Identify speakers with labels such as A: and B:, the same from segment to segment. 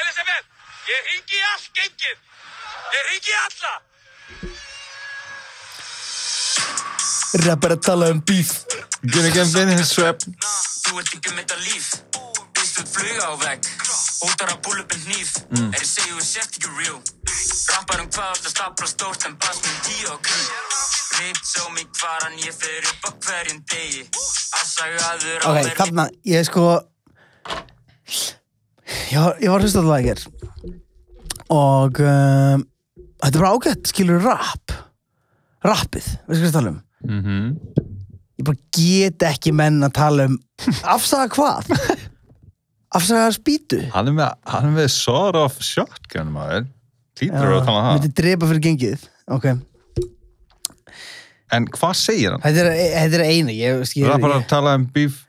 A: Elisabeth, ég ringi í allt gengið. Ég ringi í alla.
B: Rappar að tala um bíf
C: Gonna get finished swap
A: Þú ert ekki mitt að líf. Býst við fluga á vegg. Ótar að búlu upp en hníf. Er ég segju við sért ekki real. Rampar um hvað allt að stapla stórt en bast með tíu og kví. Rits á mig hvaran ég fer upp á hverjum degi. Að saga aður á
B: Ok, þarna, ég sko Ég var, ég var hlust að það ekki Og um, Þetta er bara ágætt, skilur rap Rappið, veistu hvað ég er að tala um
C: Mhm.
B: Ég bara get ekki menn að tala um Afsaga hvað? Afsaga spýtu
C: Hann er með, hann er með sort of shotgun maður Lítur að tala um það
B: Myndi drepa fyrir gengið Ok,
C: En hvað segir hann?
B: þetta er, þetta er eina Ég, ég, ég,
C: Rappar að
B: ég,
C: tala um bíf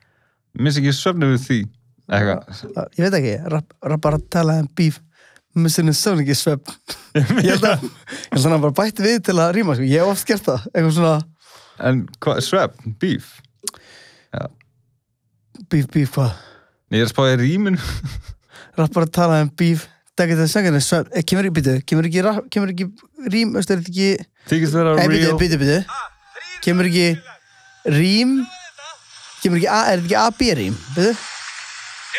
C: Miss ekki svefnu við því Eitthvað
B: ég veit ekki rap, Rappar að tala um bíf Missinu sönningi svepp Ég held að ég held að hann bara bætti við til að rýma sko. Ég hef oft gert það, eitthvað svona
C: En hvað, svefn, bíf
B: bíf, bíf, hvað
C: Ég er að spáði rýmin
B: Rappar að tala um bíf Dækir það sönginni, svepp, eh, kemur ekki býtu Kemur ekki, rap- kemur ekki rým veistu, Er þetta ekki, Eh,
C: Þykist vera
B: ei, býtu,
C: real
B: býtu, býtu Kemur ekki rým Kemur ekki, a, er þetta ekki AB-rým Býtu,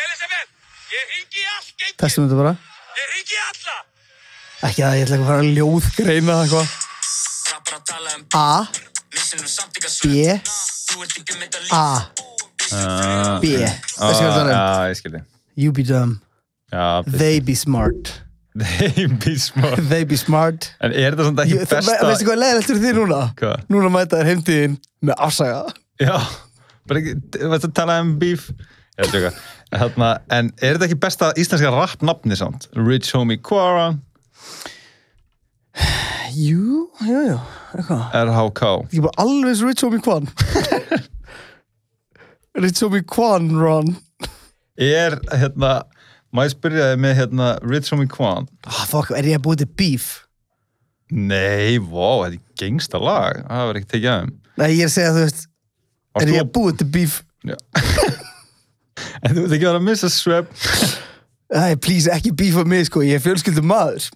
A: Elisabeth, ég ringi í allt gengið.
B: testum þetta bara
A: Ég ringi í alla.
B: Ekki að ég ætla ekki að fara að ljóðgreina eitthvað
A: Rappar að tala um
B: A,
A: Missin um samt ekki að
B: B,
A: Þú ert ekki mitt að líf.
B: A,
C: Ah,
B: B Það sé hvað það er
C: Já, ég skilji
B: You be dumb,
C: Já, bíf.
B: they be smart
C: They be smart
B: They be smart
C: En er þetta samt
B: Ég- Þú
C: ekki
B: ve- Veistu
C: besta
B: hvað er leiðilegt fyrir því núna?
C: Hvað?
B: Núna mæta þér heimtíðin með afsaga
C: Já, bara ekki Vast að tala um bíf Ég er að tjóka Þarna, en er þetta ekki besta íslenska rappnafni samt? Rich Homie Quara,
B: Jú, jú, jú, eitthvað
C: RHK
B: Ég er bara alveg svo Rich Homie Kwan Rich Homie Kwan Ron
C: Er, hérna, maður spyrjaði með, hérna, Rich Homie Quan
B: Ah, fuck, er ég að búið til beef?
C: Nei, vó, þetta er gengsta lag Það var ekki tekið af þeim
B: Nei, ég er að segja, þú veist, er
C: Varst
B: ég að
C: þú-
B: búið til beef?
C: Já. En þú ert ekki að vera að missa svepp
B: Æ, please, ekki beefa mig, sko, ég er fjölskyldu maður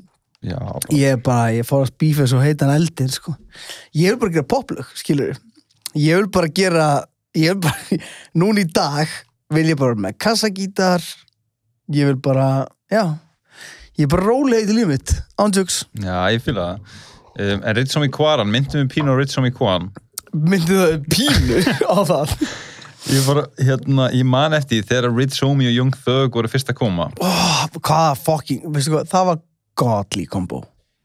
C: Já, bara,
B: Ég er bara, ég fór að beefa svo heitan eldin, sko Ég vil bara gera poplög, skilur Ég vil bara gera, ég vil bara, núna í dag vil ég bara vera með kassagítar Ég vil bara, já, ég er bara rólega í lífið mitt, ándjöks
C: já ég fýla það um, En Rich Homie Quan, myndum við um Pínu og Rich Homie Quan
B: myndi það pínu á það
C: Ég var, hérna, ég man eftir því þegar Rich Homie og Young Thug voru fyrst að koma
B: oh, hvað fucking, veistu hvað, það var godly kombo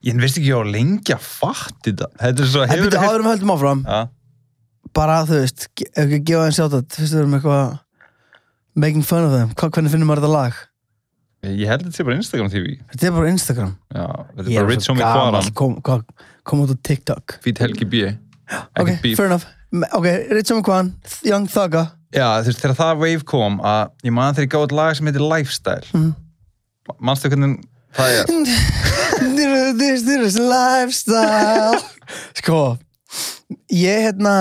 C: Ég veist ekki ég á lengi að fatta þetta Þetta er svo
B: en byrju áður um höldum áfram
C: ja.
B: bara þú veist, ge- ef ekki að gefa þeim sjátt fyrst við erum eitthvað making fun of them, Hva, hvernig finnum maður þetta lag
C: Ég held þetta sé bara Instagram TV Já,
B: þetta er bara Instagram
C: þetta er
B: Ég er svo
C: bara Rich Homie
B: gamall,
C: Quan
B: kom, kom, kom út á TikTok
C: Fýt Helgi B
B: ok,
C: Ekkert beef.
B: fair enough Me- ok, Rich Homie Kwan, Young Thugga
C: Já, þú veist, þegar það wave kom að ég man þegar ég gáði lag sem heitir Lifestyle
B: Mhm.
C: mm. Manstu hvernig það er?
B: this, this lifestyle sko ég hérna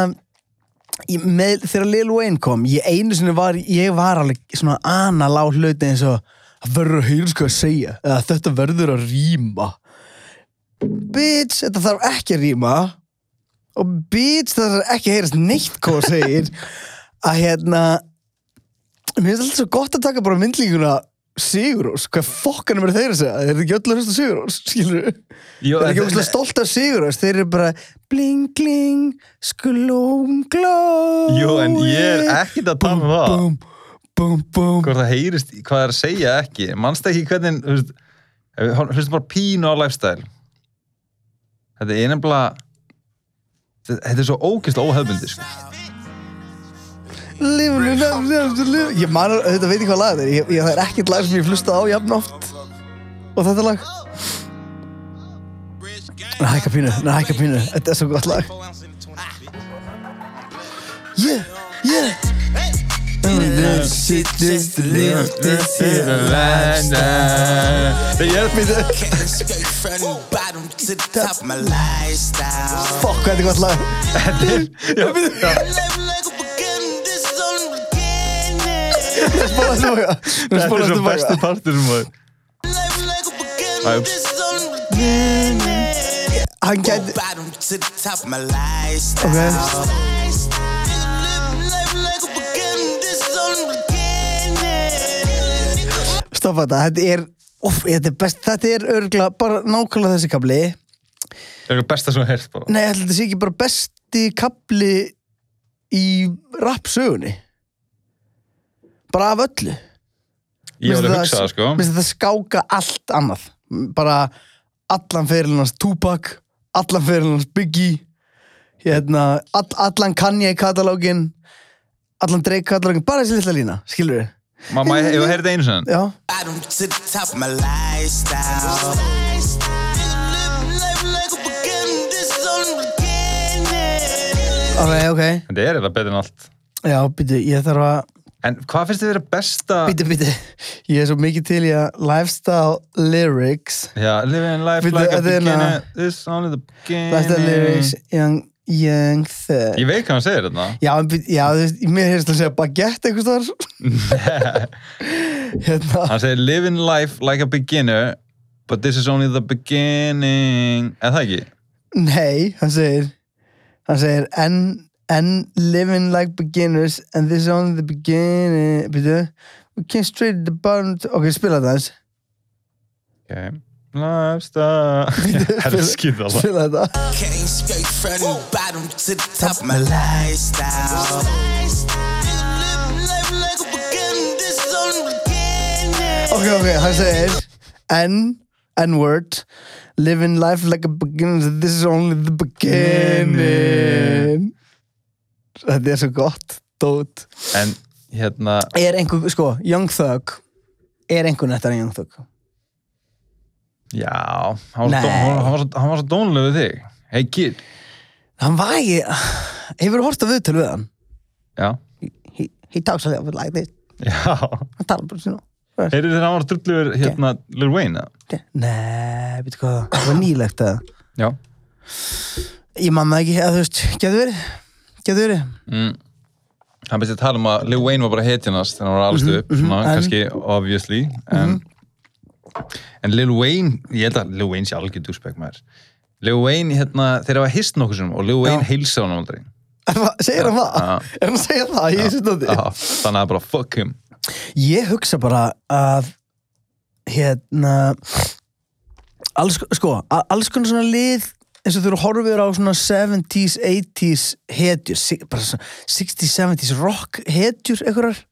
B: ég, með, þegar Lil Wayne kom ég einu sinni var, ég var alveg svona analá hluti eins og það verður að heyra sko að segja eða þetta verður að rýma bitch, þetta þarf ekki að rýma og bitch, það þarf ekki að heyrast neitt hvað þú segir að hérna mér finnst alltaf svo gott að taka bara myndlíkuna Sigurós, hvað fokkanum er þeir að segja þeir eru ekki öll að hlusta Sigurós, skilur
C: Jó,
B: Þeir eru ekki
C: en-
B: óslega stolt af Sigurós, þeir eru bara bling, bling, sklóm, gló
C: Jú, en ég er ekkert að tala um það
B: Bum, bum, bum
C: Hvort það heyrist, í- hvað það er að segja ekki Manstu ekki hvernig, þú veist ef við hor- Hlustum bara pínu á lifestyle Þetta er nefnilega Þetta þetta er svo ógeðslega óhefbundi sko.
B: Lifinu, lifinu, lifinu, lifinu Ég man, þetta veit ég hvað lag þetta er ég, ég, Það er ekkert lag sem ég hlusta á jafn oft Og þetta lag Nei, hækka pínu, nei, hækka pínu Þetta er svo gott lag Yeah, yeah
C: Þegar ég er fyrir
B: Fuck, hvað þetta er gott lag
C: þetta er- já,
B: Þetta spóla tilbaka Nú
C: Þetta
B: spóla
C: er svo
B: tilbaka
C: bestu partur sem maður
D: Life like
C: Æ,
D: a
C: ups.
D: beginning, this is only the beginning.
B: Hann
D: Go
B: gæti
D: bottom to the top of my lifestyle.
B: Ok.
D: Live life like a beginning, this is only the beginning.
B: stoppa þetta Þetta er, óf, þetta er best Þetta er örgla, bara nákvæmlega þessi kabli
C: Það er eitthvað besta sem hérst bara
B: Nei, ég ætla þetta sé ekki bara besti kabli í rapsögunni Bara af öllu
C: Ég
B: Mér
C: var alveg að
B: finnst
C: hugsa það sko
B: Mér finnst þetta skáka allt annað Bara allan fyrirlinn hans Tupac Allan fyrirlinn hans Biggie hérna, all, Allan Kanye katalógin Allan Drake katalógin Bara þessi litla lína, skilur við
C: Mamma, ég hef heyrði einu sinni
B: Já,
D: Bottom to the top of my lifestyle. Live life like a beginning, this is only the beginning.
B: ok, ok
C: Þetta er þetta betur en allt
B: Já, býtu, ég þarf að
C: En hvað finnst þið vera besta
B: Býtu, býtu Ég er svo mikið til í að Lifestyle lyrics
C: Já, living life
B: Bíddu,
C: like a
B: þetta er hérna-
C: beginning This is only the
B: Lifestyle lyrics
C: beginning
B: Young, young thug
C: Ég veit hvað hann segir þetta
B: Já, en býtu, já, þú veist Mér hefðist að segja baguette einhvers þar Hérna
C: Hann segir living life like a beginner But this is only the beginning Er það ekki?
B: Nei, hann segir hann segir and, and living like beginners and this is only the beginning byrju, we came straight to the bottom to... ok, spila þetta aðeins
C: Okay. Lifestyle Þetta er skýðala
B: spila þetta
D: Came straight from the bottom to the top of my lifestyle. Live life like a beginning, this is only the beginning.
B: ok, ok, hann segir and, and word living life like a beginner this is only the beginning þetta er svo gott dót
C: En hérna
B: er einhver, sko, Young Thug er einhver nettar en Young Thug
C: Já, hann
B: Nei.
C: var, dó, hann, hann var, svo- hann var svo dónuleg við þig Hey kid
B: hann var ekki hefur hort að viðtölu við hann
C: Já,
B: he, he talks a little bit like this
C: já
B: hann talar bara svona
C: Heyrðu þér að hann var drullur hérna Lil Wayne eða?
B: Nei, veitu hvað, það var nýlegt að
C: Já
B: Ég man það ekki, eða þú veist, getur verið Getur verið
C: Hann byrjaði að tala um að Lil Wayne var bara hetjanast þegar hann var alveg upp,
B: Mhm,
C: svona,
B: en- Mhm.
C: kannski obviously en, en Lil Wayne, ég held að Lil Wayne sé algjör dúsbæk maður Lil Wayne, hérna, þeir hafa hist nokkuð sem og Lil Wayne heilsa hann aldrei
B: Er það- Segir hann það?
C: Já.
B: Er hann að segja það í þessu stóti?
C: Já, Ah, Þannig að bara fuck him
B: Ég hugsa bara að Hérna alls, Sko, a- alls konar svona lið eins og þú eru horfir á svona 70s, 80s hetjur si- bara svona 60s, 70s rock hetjur einhverjar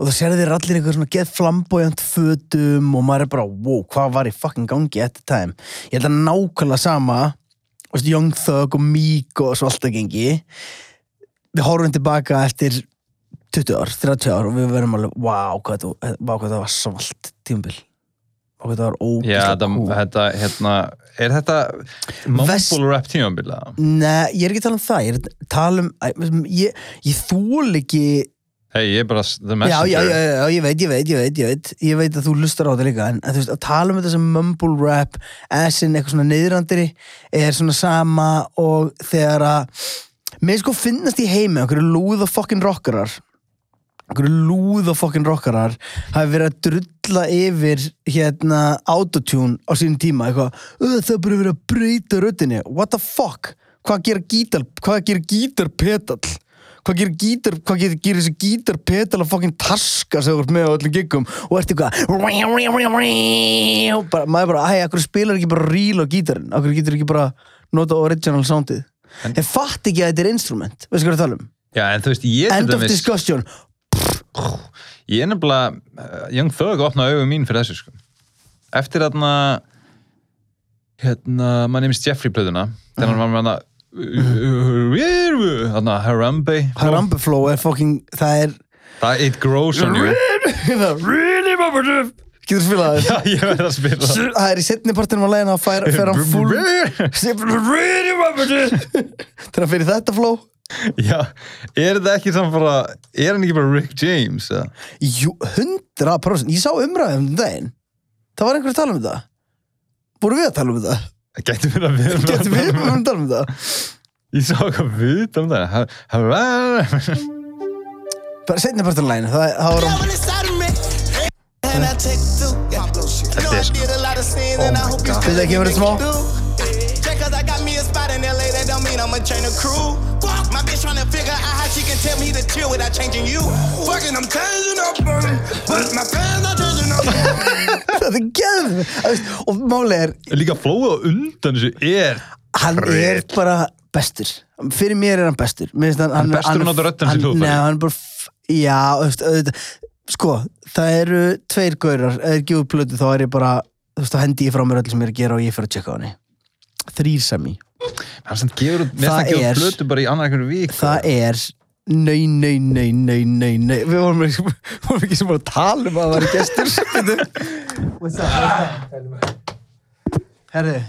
B: og það sér þeir allir einhver svona get flamboyant fötum og maður er bara, wow, hvað var í fucking gangi at the time, ég held að nákvæmlega sama þú veist, Young Thug og Meek og svo alltaf gengi við horfum tilbaka eftir 20 ár, 30 ár og við verðum alveg, wow, hvað, þú, wow, hvað það var svalt tímabil og hvað það var
C: Já,
B: ógæslega
C: þetta, þetta, hérna Er þetta
B: Vest-
C: mumble rap tímabila?
B: Nei, ég er ekki að tala um það, ég er að tala um, æ, ég, ég þúl ekki,
C: Hei, ég er bara s- the
B: já, já, já,
C: messenger
B: já, ég veit, ég veit, ég veit, ég veit, ég veit að þú lustar á þetta líka, en en þú veist, að tala um þetta sem mumble rap, essin, eitthvað svona neyðrandiri, er svona sama og þegar að, mér sko finnast í heimi, okkur lúða fokkin rockarar, okkur lúða fokkin rockarar, hafi verið að drulla yfir, hérna, autotune á sínum tíma, eitthvað, "Ö, það er bara verið að breyta röddinni, what the fuck, hvað gerir gítar, hvað gerir gítarpetall? hvað gerir gítar, hvað gerir, gerir þessi gítar petal að fokkin taska sem þú ert með á öllum giggum og ert eitthvað bara, maður bara, æ, akkur spilar ekki bara ríl á gítarinn, akkur getur ekki bara nota original soundið ég fatt ekki að þetta er instrument, veistu hvað ég er að tala um
C: Já, en þú veist, ég
B: end
C: til
B: of
C: dæmis
B: discussion
C: Ég er nefnilega, uh, Young Thug opnaði auðvitað mín fyrir þessu sko. Eftir þarna, hérna, maður nefnist Jeffrey plöðuna, þannig að maður með hana, þarna Harambe,
B: Harambe flow er fokkin, það er
C: það It Grows On You.
B: getur spilað
C: Já,
B: það
C: ég verði að spila það.
B: það er í setni partinum að leiðina að færa fer hann full þegar hann fyrir þetta flow
C: Já, er það ekki samt bara, er hann ekki bara Rick James? eða?
B: Jú, 100% Ég sá umræðum um daginn Það var einhver að tala um þetta Voru við að tala um þetta?
C: Gæti verið að við
B: Getur við að tala um þetta?
C: Ég sá eitthvað við um það. Harambe.
B: Bara setna partur lægin Það, það var
D: Devil inside of me. and I take two. Yeah. I know I
C: This.
D: did a lot of sin
C: Oh
D: and
C: my
D: I hope you
C: God.
D: still
B: Did they give it a
D: think
B: small?
D: do. Just cause I got me a spot in LA, that don't mean I'ma train a crew. Fuck, my bitch tryna figure out how she can tell me to chill without changing you. Fucking, I'm changing up, um, but my fans are changing up.
B: það er geðum og málið er,
C: Líka flóið á undan þessu er
B: hann er
C: Rip.
B: bara bestur fyrir mér er hann bestur Mér finnst hann,
C: Hann bestur
B: hann-
C: hún átta röddina
B: hann-
C: sem hljóðfæri.
B: nei, hann er bara f- já, auðvitað, auðvitað, sko, það eru tveir gaurar, ef þeir gefur plötu þá er ég bara, þú veist, þá hendi ég frá mér öll sem ég er að gera og ég fyrir að tjekka á henni þrýr sami,
C: Hann sem gefur út, mér
B: Það
C: það gefur
B: er-
C: út blötu bara í annar einhverju vík
B: það er Nei, nei, nei, nei, nei, nei Við vorum ekki, vorum ekki sem voru að tala um að það væri gestur What's up? Herri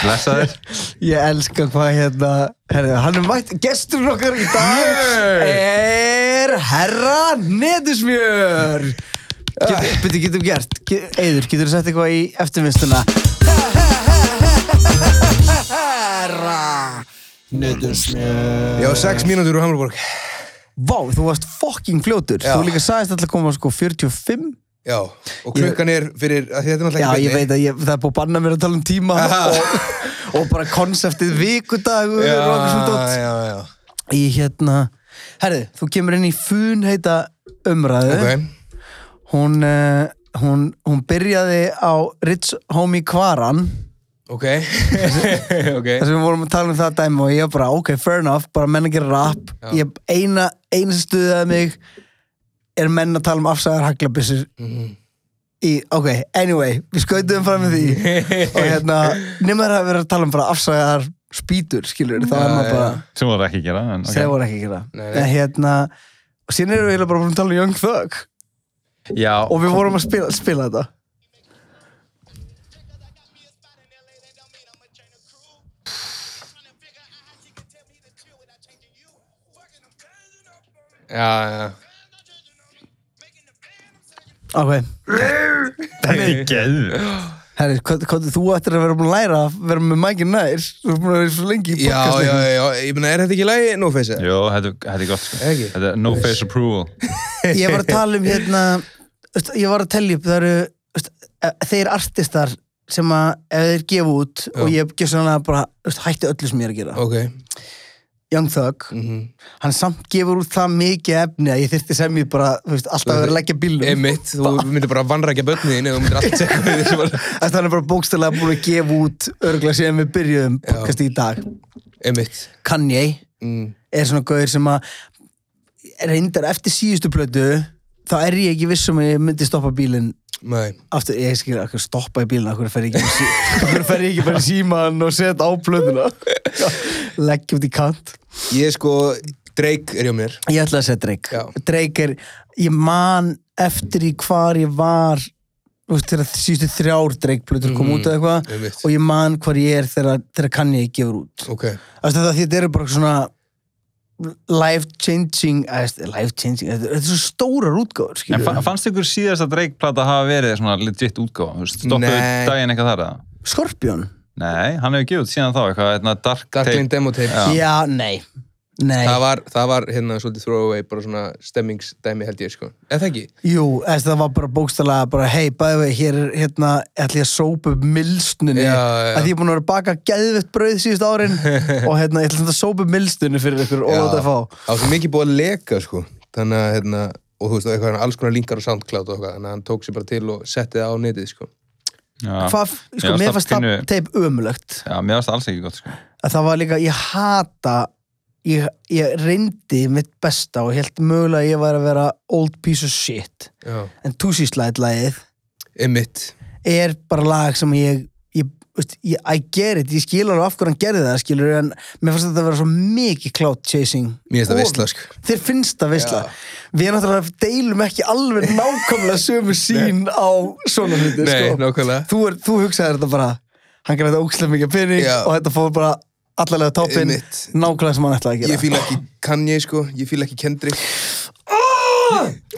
C: Blessa þér
B: Ég elska hvað hérna herri, Hann er mætt, gesturinn okkar í dag Er herra netusmjör Get, Byrju, getum gert Ge- Eiður, getur þú sett eitthvað í eftirvinnstuna Herra
E: Ég á
B: Eh.
E: sex mínútur úr Hamburg
B: Vá, þú varst fucking fljótur
E: Já.
B: Þú líka sagðist alltaf að koma sko 45
E: Já, og klukkan er fyrir að því þetta
B: Já,
E: er náttúrulega
B: ég veit að ég, það er búið að banna mér að tala um tíma
E: Aha.
B: og, og bara konseptið vikudagur og eitthvað svona dót.
E: Já, já, já
B: í hérna herðu, þú kemur inn í fun heita umræðu
E: Ok,
B: hún, uh, hún, hún byrjaði á Rich Homie Kvaran
E: ok Ok
B: þar sem við vorum að tala um það dæmi og ég bara ok, fair enough, bara menn að gera rap ég eina, eina sem stuðaði mig er menn að tala um afsæðar haglabissur
E: Mhm.
B: í, ok, anyway, við skautum fram með því og hérna, nema það að vera að tala um bara afsæðar spýtur, skilur, þá er maður bara
C: Sem voru ekki að gera en,
B: okay. þeir
C: okay.
B: voru ekki að gera
E: Nei, nei.
B: en hérna og síðan erum við eiginlega bara búin að tala um Young Thug
C: Já,
B: og við vorum að spila, spila þetta
E: Já, já
B: ok,
C: það er geður
B: herri, hvað, hvað þú ættir að vera búin að læra að vera með mækin nær þú erum búin að vera svo lengi í
E: Já, já,
B: podcastinu
E: já, já, ég meina, er þetta ekki lægi? No face
C: Jó, þetta þetta er gott sko.
E: Ekki?
C: Þetta er no face approval
B: ég var að tala um hérna veist, ég var að telja upp það eru veist, e- þeir artistar sem að ef þeir gefa út og ég gef svona bara veist, hætti öllu sem ég er að gera
E: Ok Mhm.
B: Young Thug, hann samt gefur út það mikið efni að ég þyrfti sem ég bara þú veist, alltaf að vera að leggja bílum
E: Emitt, þú myndir bara vannrækja börnin þín eða þú myndir allt segja við því bara
B: Þetta hann er bara bókstæðlega búin að gefa út örgulega síðan við byrjuðum podcast í dag
E: Emitt
B: Kanye
E: mm.
B: er svona gauður sem að reyndar eftir síðustu plötu þá er ég ekki viss um að ég myndi stoppa bílinn
E: Nei
B: aftur, ég skil að stoppa í bílinn af hverju fer ég ekki, í sí- af hverju fer ég ekki bara í síman og set á plötuna leggja út í kant
E: Ég sko, Drake er hjá mér
B: Ég ætla að segja Drake
E: Já.
B: Drake er, ég man eftir í hvar ég var þú veist, þegar síðustu þrjár Drake plötur kom út eða eitthvað
E: Mhm. einmitt.
B: og ég man hvar ég er þegar, þegar Kanye gefur út
E: Ok
B: Æst, þetta, þetta eru bara svona life changing æst, life changing, þetta, þetta er svo stórar útgáður
C: En
B: skilur
C: fa- fannst ykkur síðasta Drake-plata hafa verið svona legit útgáfa? Þú veist, Stoppuðu
E: Nei.
C: daginn eitthvað þar að?
B: Skorpjón?
C: Nei, hann hefur gefið út síðan þá eitthvað hérna, Dark,
E: Darkling Demo Tape
C: Já.
B: Já, nei, nei.
E: Það var, það var hérna svolítið throwaway, bara svona stemmingsdæmi held ég sko. Eða það ekki?
B: Jú, æst, það var bara bókstælega bara, hei, bæði við, hér er hérna ætla ég að sópa upp milstunni
E: Já, já.
B: að ég er búin að vera að baka geðvitt brauð síðust árin og hérna, ég ætla samt að sópa upp milstunni fyrir ykkur og láta að fá
E: Það var svo mikið búið að leka sko. Þannig að hérna, og þú veist, og eitthvað, alls konar linkar og soundcloud og eitthvað, þannig að hann tók sér bara til og setti það á netið sko.
C: Já.
B: Hvað, sko,
C: Já,
B: mér
C: það
B: fannst það
C: pínu-
B: teip ömulögt
C: Já, mér varst alls ekki gott sko.
B: að það var líka, ég hata ég, ég reyndi mitt besta og held mögulega að ég var að vera old piece of shit
E: Já.
B: en túsíslæðið lagið
E: Emmitt.
B: er bara lag sem ég ég, veist, ég, I get it, ég skilur alveg af hverju hann gerði það skilur, en mér finnst þetta að vera svo mikið cloud chasing
E: Mér finnst það
B: Og-
E: veistla sko.
B: Þér finnst það veistla Við náttúrulega deilum ekki alveg nákvæmlega sömu sín á svona hluti
E: Nei,
B: sko.
E: nákvæmlega.
B: þú, er, þú hugsaði þetta bara Hann græði ókslega mikið pening
E: Já.
B: og þetta fór bara allalega toppinn
E: Einmitt.
B: nákvæmlega sem hann ætlaði að gera
E: Ég fíla ekki Kanye sko, ég fíla ekki Kendrick.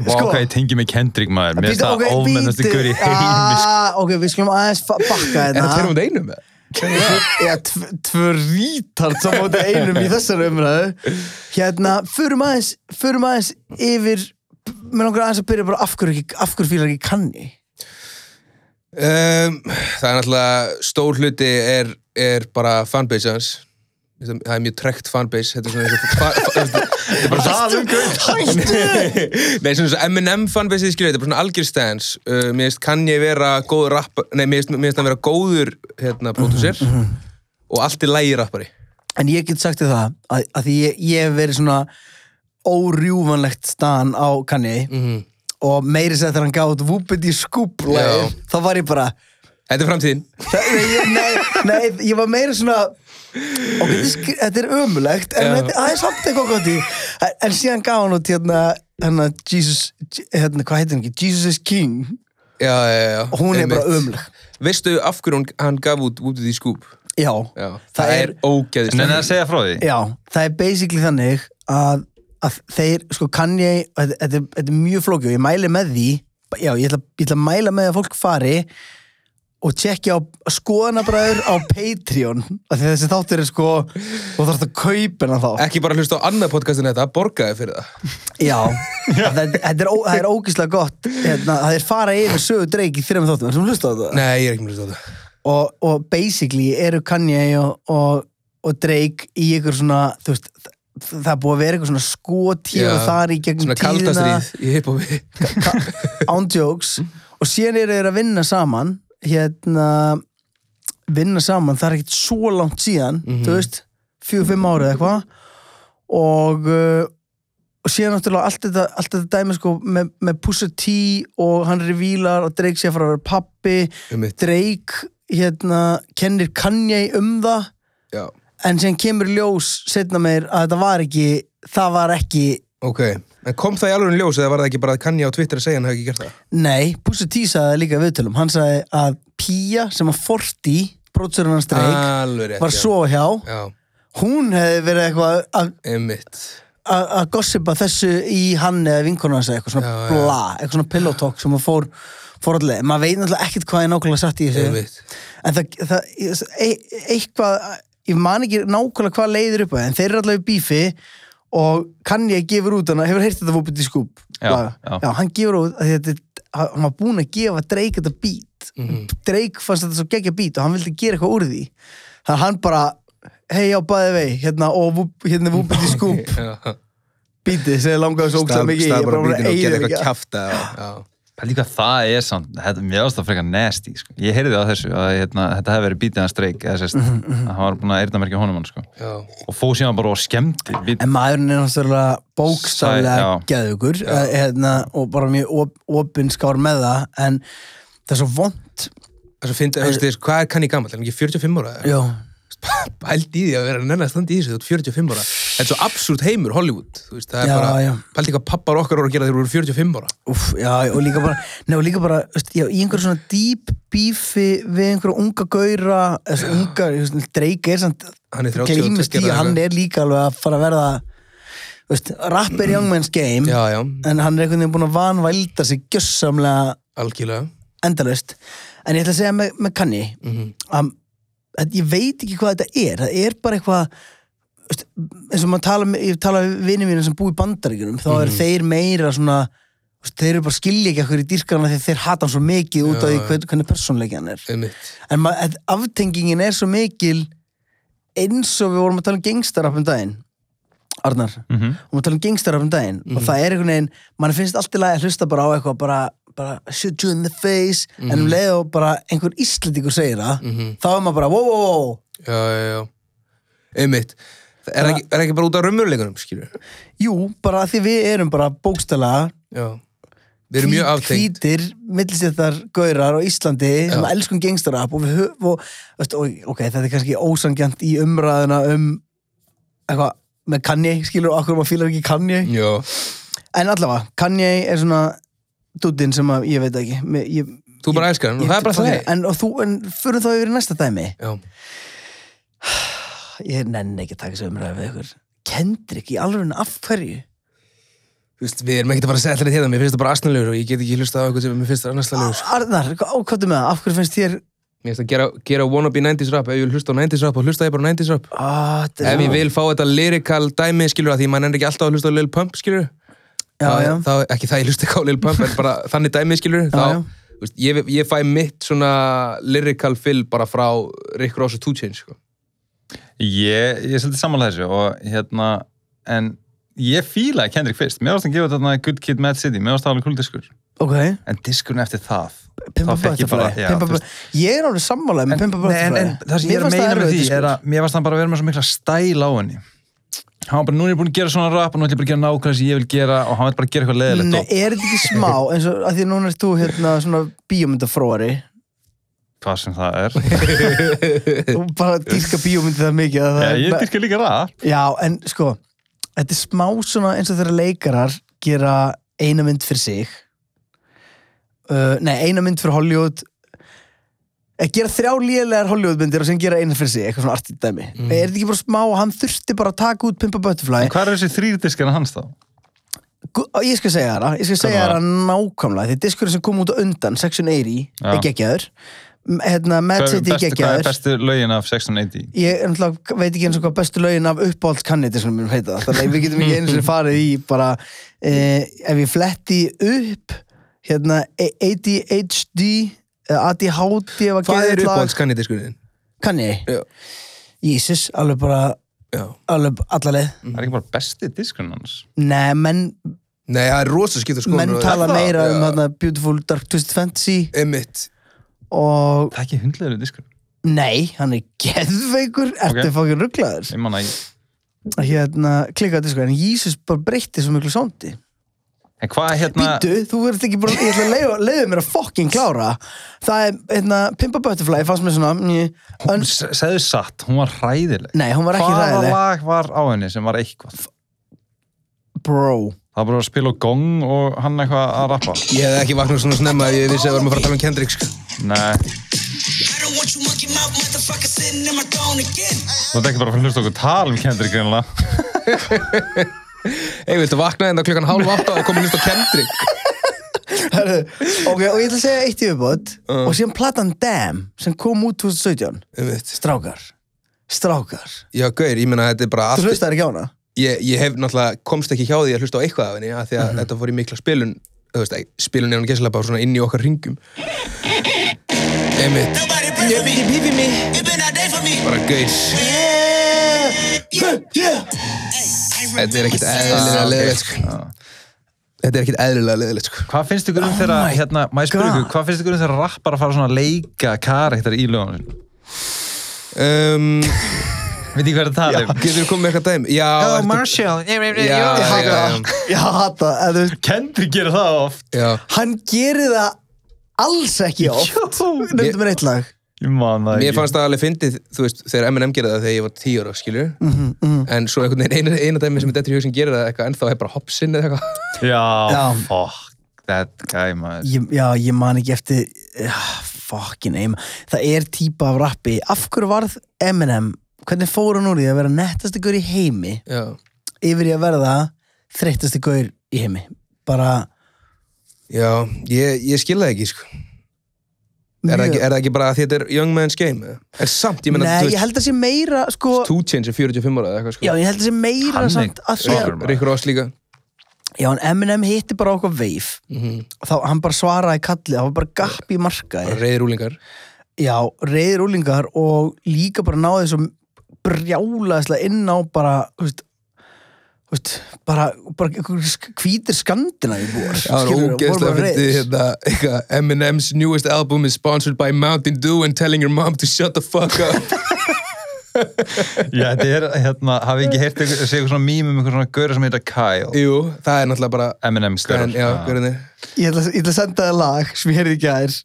C: Vá, hvað ég tengi með Kendrick maður Mér finnst
B: Sko- Bíddu,
C: það
B: ok,
C: ofmennast
B: bíddu.
C: ykkur í heimi sko.
B: Ah, Ok, við skulum aðeins fa- bakka
E: Er það
B: þetta
E: tveir um þetta einum með?
B: Já, tv- tvö rítart saman út einum í þessari umræðu Hérna, förum aðeins, förum aðeins yfir mér langar aðeins að byrja bara af hverju, ekki- af hverju fílar ekki kanni
E: Um, það er náttúrulega stór hluti er, er bara fanbase hans það það er mjög trekt fanbase þetta er svona eins og fa- fa- þetta er bara
C: Salum Gaut
E: nei, svona eins og M&M fanbase skilur, þetta er bara svona algjör stans uh, mér finnst kann ég vera góður rapp nei, mér finnst- mér finnst hann vera góður hérna, pródúsir
B: Mhm,
E: og allt í lægi rappari
B: en ég get sagt þér það að, að því ég, ég hef verið svona órjúvanlegt staðan á kanni og meiri sér þegar hann gaf út vúpið í skúb
E: Mhm. Já.
B: þá var ég bara
E: þetta er framtíðin
B: það, nei, nei, nei, ég var meira svona ok, þetta er skr- þetta er ömulegt en
E: Já.
B: þetta- það er samt eitthvað gott í En- en síðan gaf hann út hérna, hérna Jesus, hérna, hvað heitir hann ekki Jesus is King,
E: já, já, já, já.
B: og hún er bara
E: Einmitt.
B: ömuleg
E: veistu af hverju hún- hann gaf út út í skúp
B: já,
E: já, það,
B: Það er-
E: er, ógeðist
C: Nenni að sko. segja frá því
B: já, það er basically þannig að, að þeir, sko Kanye og þetta, þetta, er- þetta er mjög flókið og ég mæli með því já, ég ætla, ég ætla að mæla með að fólk fari og tjekkja á skoðanabræður á Patreon af því þessi þáttur er sko þú þarfst að kaupa hana þá
E: ekki bara hlusta á annað podcast en þetta, borgaði fyrir það
B: Já, það, það er, ó- það er ógislega gott hérna, það er fara yfir sögu dreik í þreim þáttum sem hlusta á þetta
E: Nei, ég er ekki með hlusta á það.
B: og, og basically eru Kanye og, og, og dreik í ykkur svona þú veist, þ- það er búið að vera ykkur svona skoti og
E: Já,
B: þar í gegnum
E: Svona kalda
B: tíðina
E: stríð í hiphopi.
B: ándjóks og síðan eru þeir að vinna saman hérna vinna saman, það er ekkert svo langt síðan þú veist, fjögur-fimm árið eitthvað og uh, og síðan náttúrulega allt þetta, allt þetta dæmi sko með, með Pusha T og hann er í vílar og Drake sé að fara að vera pappi
E: Einmitt.
B: Drake hérna kennir Kanye um það
E: Já,
B: en síðan kemur í ljós setna meir að þetta var ekki það var ekki
E: ok. En kom það í alveg ljós eða var það ekki bara að kanni á Twitter að segja hann hafi ekki gert það?
B: Nei, Pusha T sagði það líka í viðtölum Hann sagði að Pía sem að Forti brótsurinn hans dreik
E: Alveg rétt,
B: var
E: Ah, já.
B: svo hjá
E: Já,
B: Hún hefði verið eitthvað að-
E: einmitt.
B: að að gossipa þessu í hann eða vinkonu hans eða eitthvað svona
E: Já, já.
B: bla eitthvað svona pillow talk sem að fór fór allir, maður veit náttúrulega ekkert hvað er nákvæmlega satt í þessu
E: Einmitt.
B: en það, það e, eitthvað, ég man ekki nákvæmlega hvað leiðir upp að en þeir eru allavega í bífi og kann ég gefur út hana, hefur heyrt þetta vopið í skúb
C: Já,
B: Laga.
C: já.
B: já, hann gefur út að þetta, að- hann var búinn að gefa Drake þetta beat
E: Mhm.
B: Drake fannst þetta svo geggja beat og hann vildi gera eitthvað úr því þannig að hann bara, hei já, bæði vei hérna, og Whoop- hérna er vopið í skúb
E: Já.
B: bítið sem ég langaði svo ógstæða
E: Stað
B: mikið í,
E: stað
B: ég
E: bara
B: búin að
E: bítinn og
B: eyða
E: geta eitthvað
B: mikið.
E: kjafta. Já.
C: Það líka það er samt, þetta, mér ást það frekar nasty sko. Ég heyrði á þessu að hérna, þetta hefði verið bítið hans dreik eða sérst,
B: Mhm,
C: að hann var búin að eyrna merkja honum hann sko.
E: Já.
C: og fóð síðan bara og skemmti bít,
B: en maðurinn er náttúrulega bókstaflega
C: Sæ- já.
B: geðugur eh, hérna, og bara mjög op, opinskár með það en það er svo vond
E: Það er svo fyndið, þú veist, þú veist, hvað er kanni gammal? Er hann ekki 45 ára?
B: já,
E: Pælt í því að vera nenni að standa í þessu, þú ert 45 ára. Þetta er svo absúrt heimur, Hollywood. Þú veist, það er
B: Já, já.
E: bara, pælt ekki hvað pappar okkar voru að gera þegar þú eru 45 ára.
B: úf, já og líka bara, nei, og líka bara veist, já, í einhverjum svona dýp bífi við einhverja unga gaura þessu unga, dreika er samt
E: Hann er 32
B: gleymist í,
E: eða
B: að hann
E: eitthvað.
B: er líka alveg að fara að verða veist, rapp er young man's game
E: Já, já,
B: en hann er einhvern veginn búin að vanvælda sig gjössamlega
E: algjörlega.
B: endalaust en ég ætla að segja með, með kanni að, að ég veit ekki hvað þetta er það er bara eitthvað veist, eins og maður tala, með- ég tala við vinið mínu sem búi í bandaríkjunum þá eru þeir meira svona veist, þeir eru bara skilja ekki okkur í dýrkana þegar þeir hata hann svo mikið út af
E: Já,
B: því
E: já.
B: hvern, hvernig persónleiki hann er
E: Einmitt.
B: en ma- að- aftengingin er svo mikil eins og við vorum að tala um gengstarrapp um daginn Arnar, mm -hmm. og maður tala um gengstarrapp um daginn og það er einhvern veginn, mann finnst allt í lagi að hlusta bara á eitthvað, bara, bara shoot you in the face, en um leið og bara einhver íslendingur segir það þá er maður bara, wow, wow, wow
E: já, já, já einmitt Það er, ekki, er ekki bara út af raumurleikunum, skilur
B: jú, bara af því við erum bara bókstala
E: já. við erum mjög aftengt
B: hvítir, millistéttar gaurar á Íslandi sem
E: Já.
B: elskum gengstarrapp og við höf, og, veist, og, ok, þetta er kannski ósangjant í umræðuna um eitthvað með Kanye, skilur okkur maður fílar ekki Kanye
E: já,
B: En allavega, Kanye er svona dúddinn sem að ég veit ekki Mér- ég,
E: þú bara elskar hann og
B: ég-
E: það er bara það
B: En, og þú, en fyrir þá yfir í næsta dæmi
E: já,
B: Ég nenni ekki að taka þessu umræðu við ykkur Kendrick í alveg af hverju
E: þú veist, við erum ekkert að fara að segja allir þetta mér finnst það bara asnalegur og ég get ekki hlusta á eitthvað sem mér finnst það annarslegur
B: Arnar, ákvæmdu með það, af hverju finnst þér
E: mér finnst að gera, gera wannabe 90s rap ef ég vil hlusta á 90s rap og hlusta ég bara á 90s rap
B: ah, þetta er
E: ef
B: svo-
E: ég vil fá þetta lyrical dæmi skilur að því mann er ekki alltaf að hlusta á Lil Pump skilur
B: Já,
E: það,
B: já.
E: Það, ekki það ég hlusta ekki á Lil Pump en bara þannig dæmið skilur þá,
B: já.
E: þú Veist, ég, ég fæ mitt svona lyrical fill bara frá Rick Ross og 2 Chainz sko.
C: Ég, ég er svolítið sammála þessu og hérna, en ég fílaði Kendrick fyrst. Mér varst að gefa þetta Good Kid, Mad City, mér varst að alveg cool diskur.
B: ok
C: En diskurinn eftir það,
B: Pimpa
C: þá fekk ég bara,
B: Butterfly
C: já,
B: Pimpa
C: þú
B: Bu-
C: veist.
B: Ég er alveg sammála með Pimpa
C: en, en,
B: Butterfly
C: en það sem
B: Mér
C: ég er að
B: fannst
C: meina
B: það sko. erfiður
C: með því er
B: diskur.
C: að mér varst hann bara að vera með svo mikla stæl á henni. Hann var bara, nú er ég búin að gera svona rap og nú ætlum ég bara að gera nákvæmlega sem ég vil gera og hann veit bara að gera eitthvað leðilegt.
B: Nei, Er þetta ekki smá eins og að því að núna ert þú hérna svona bíómyndafróari
C: Hvað sem það er.
B: og bara dýrka bíómyndi það mikið að það
C: ég,
B: er-
C: ég dyrkja líka rap.
B: Já, en sko þetta er smá svona eins og þegar leikarar gera eina mynd fyrir sig uh, Nei, eina mynd fyrir Hollywood að gera þrjá lélegar Hollywoodmyndir og sem gera eina fyrir sig, eitthvað svona artið dæmi
C: Mm.
B: Er þetta ekki bara smá og hann þurfti bara að taka út Pimpa Butterfly
C: En hvað er þessi þrýrdiskarna hans þá?
B: Gu- Ég skal segja það, ég skal segja
C: var
B: það nákvæmlega því diskurinn sem kom út á undan, Section 80
C: Já.
B: er geggjaður M- hérna, Mad
C: Hvað
B: City er
C: er bestu- hvað er
B: geggjaður
C: bestu lögin af 680?
B: ég er náttúrulega- veit ekki eins og hvað bestu lögin af uppáhalds kanniti sem mér heita það. þannig að við getum ekki eins og farið í bara eh, ef ég fletti upp hérna A- ADHD eh, ADHD ef að
E: hvað
B: geða
E: er
B: lag-
E: uppáhaldskanni diskurinn?
B: kanni,
E: Já.
B: Jesus, alveg bara
E: Já.
B: alveg allaleg
C: Það er ekki bara besti diskurinn hans.
B: nei, menn,
E: Nei, það er rosa skiptur sko
B: menn tala meira um þarna Beautiful Dark Twisted Fantasy
E: Emmitt
B: og
C: Það er ekki hundlegur diskurinn.
B: Nei, hann er geðveikur Ertu
C: Ok.
B: fokkin rugglaður
C: Ég man að ég...
B: Hérna, klikkaði sko, en Jísus bara breytti svo miklu sándi
C: En hvað hérna...
B: Býtu, þú verður ekki bara Ég ætla að leiða, leiða mér að fokkin klára Það er, hérna, Pimpa Butterfly fannst mér svona mjö,
C: Hún
B: ön,
C: s- Segðu satt, hún var ræðileg.
B: Nei, hún var ekki
C: Hvaða
B: ræðileg
C: lag var á henni sem var eitthvað?
B: Bro
C: Það var bara að spila á gong og hann eitthvað að rappa.
E: Ég hefði ekki vaknað svona snemma ef ég vissi að við varum að fara að tala um Kendrick sko.
C: Nei,
D: I don't want you monkey mouth motherfucker sitting in my throne again.
C: þú ert ekki bara að fara að hlusta okkur tala um Kendrick greinlega.
E: Ey, viltu vakna þetta klukkan hálf átta og koma hlust á Kendrick?
B: Herðu, Ok, og ég ætla að segja eitt í uppbót
E: Uh.
B: Og síðan platan Damn sem kom út 2017
E: Einmitt.
B: Strákar Strákar
E: Já, gaur, ég meina þetta er bara
B: Þú
E: allt
B: hlustar ekki á hana?
E: ég, ég hef náttúrulega komst ekki hjá því að hlusta á eitthvað af henni af því að þetta fór í mikla spilun þú veist, ei, spilun er hann gæslega bara svona inn í okkar ringum Einmitt
D: Nobody pray for me.
E: Pípi mig
D: It been a day for me.
E: Bara gauð
B: Yeah, yeah.
E: Þetta er ekkit eðlilega leðilegt sko. Þetta er ekkit eðlilega leðilegt sko.
C: Hvað finnst ykkur um þeirra,
B: Oh my
C: hérna, maður spyrir
B: God.
C: ykkur, hvað finnst ykkur um þeirra rappar að fara svona að leika karakter í lögunum sínum?
E: um,
C: Veit ég hvað er að tala um?
E: Getur þú komið með eitthvað dæmi? Já, ertu-
C: Marshall,
E: já,
B: Oh, Ég
E: já,
B: hata
E: já,
B: það. Ég hata það, en þú veist
C: Kendrick gerir það oft.
E: já.
B: Hann gerir það alls ekki oft Nefndu mér eitt lag
C: Ég man það
E: Mér
C: ekki.
E: fannst það alveg fyndið, þú veist, þegar M&M gerði það þegar ég var 10 ára, skilur En svo einhvern veginn eina, eina dæmi sem er dettur í hug sem gerir það eitthvað ennþá er bara hopsinn eða eitthvað
C: Já,
B: Já.
C: fuck, that guy, maður.
B: ég, Já, ég man ekki eftir ah, Fucking aim Það er típa af rappi Af hverju varð Eminem Hvernig fór hann úr því að vera nettasti gaur í heimi
E: Já,
B: Yfir í að verða þreyttasti gaur í heimi Bara
E: já ég, ég skil það ekki, sko Er það, ekki, er það ekki bara að þetta er young man's game? eða? En samt, ég meina,
B: Nei, ég held að sé meira sko,
E: Two Chainz er 45 ára eða eitthvað sko
B: Já, ég held að sé meira
C: Hann er
B: samt að því að
C: svakur.
E: Rick Ross líka
B: Já, en Eminem hitti bara okkur veif
E: Mhm.
B: og þá hann bara svaraði kallið, það var bara gapp í markaði
E: Reyðir úlingar
B: Já, reyðir úlingar og líka bara náði þessu brjálaðislega inn á bara, þú veist þú veist, bara, bara einhver sk- hvítir skandina í búar
E: Það var ógeðslega fyndið hérna eitthvað, Eminem's newest album is sponsored by Mountain Dew and telling your mom to shut the fuck up
C: Já, þetta er, hérna, hafið ekki heyrt ykkur, séð ykkur svona mím um ykkur svona gaura sem heita Kyle
E: Jú, það er náttúrulega bara
C: Eminem gaur
E: en, Já, hvernig
B: ég, ætla, ég ætla að senda það lag sem ég heyrði ekki aðeins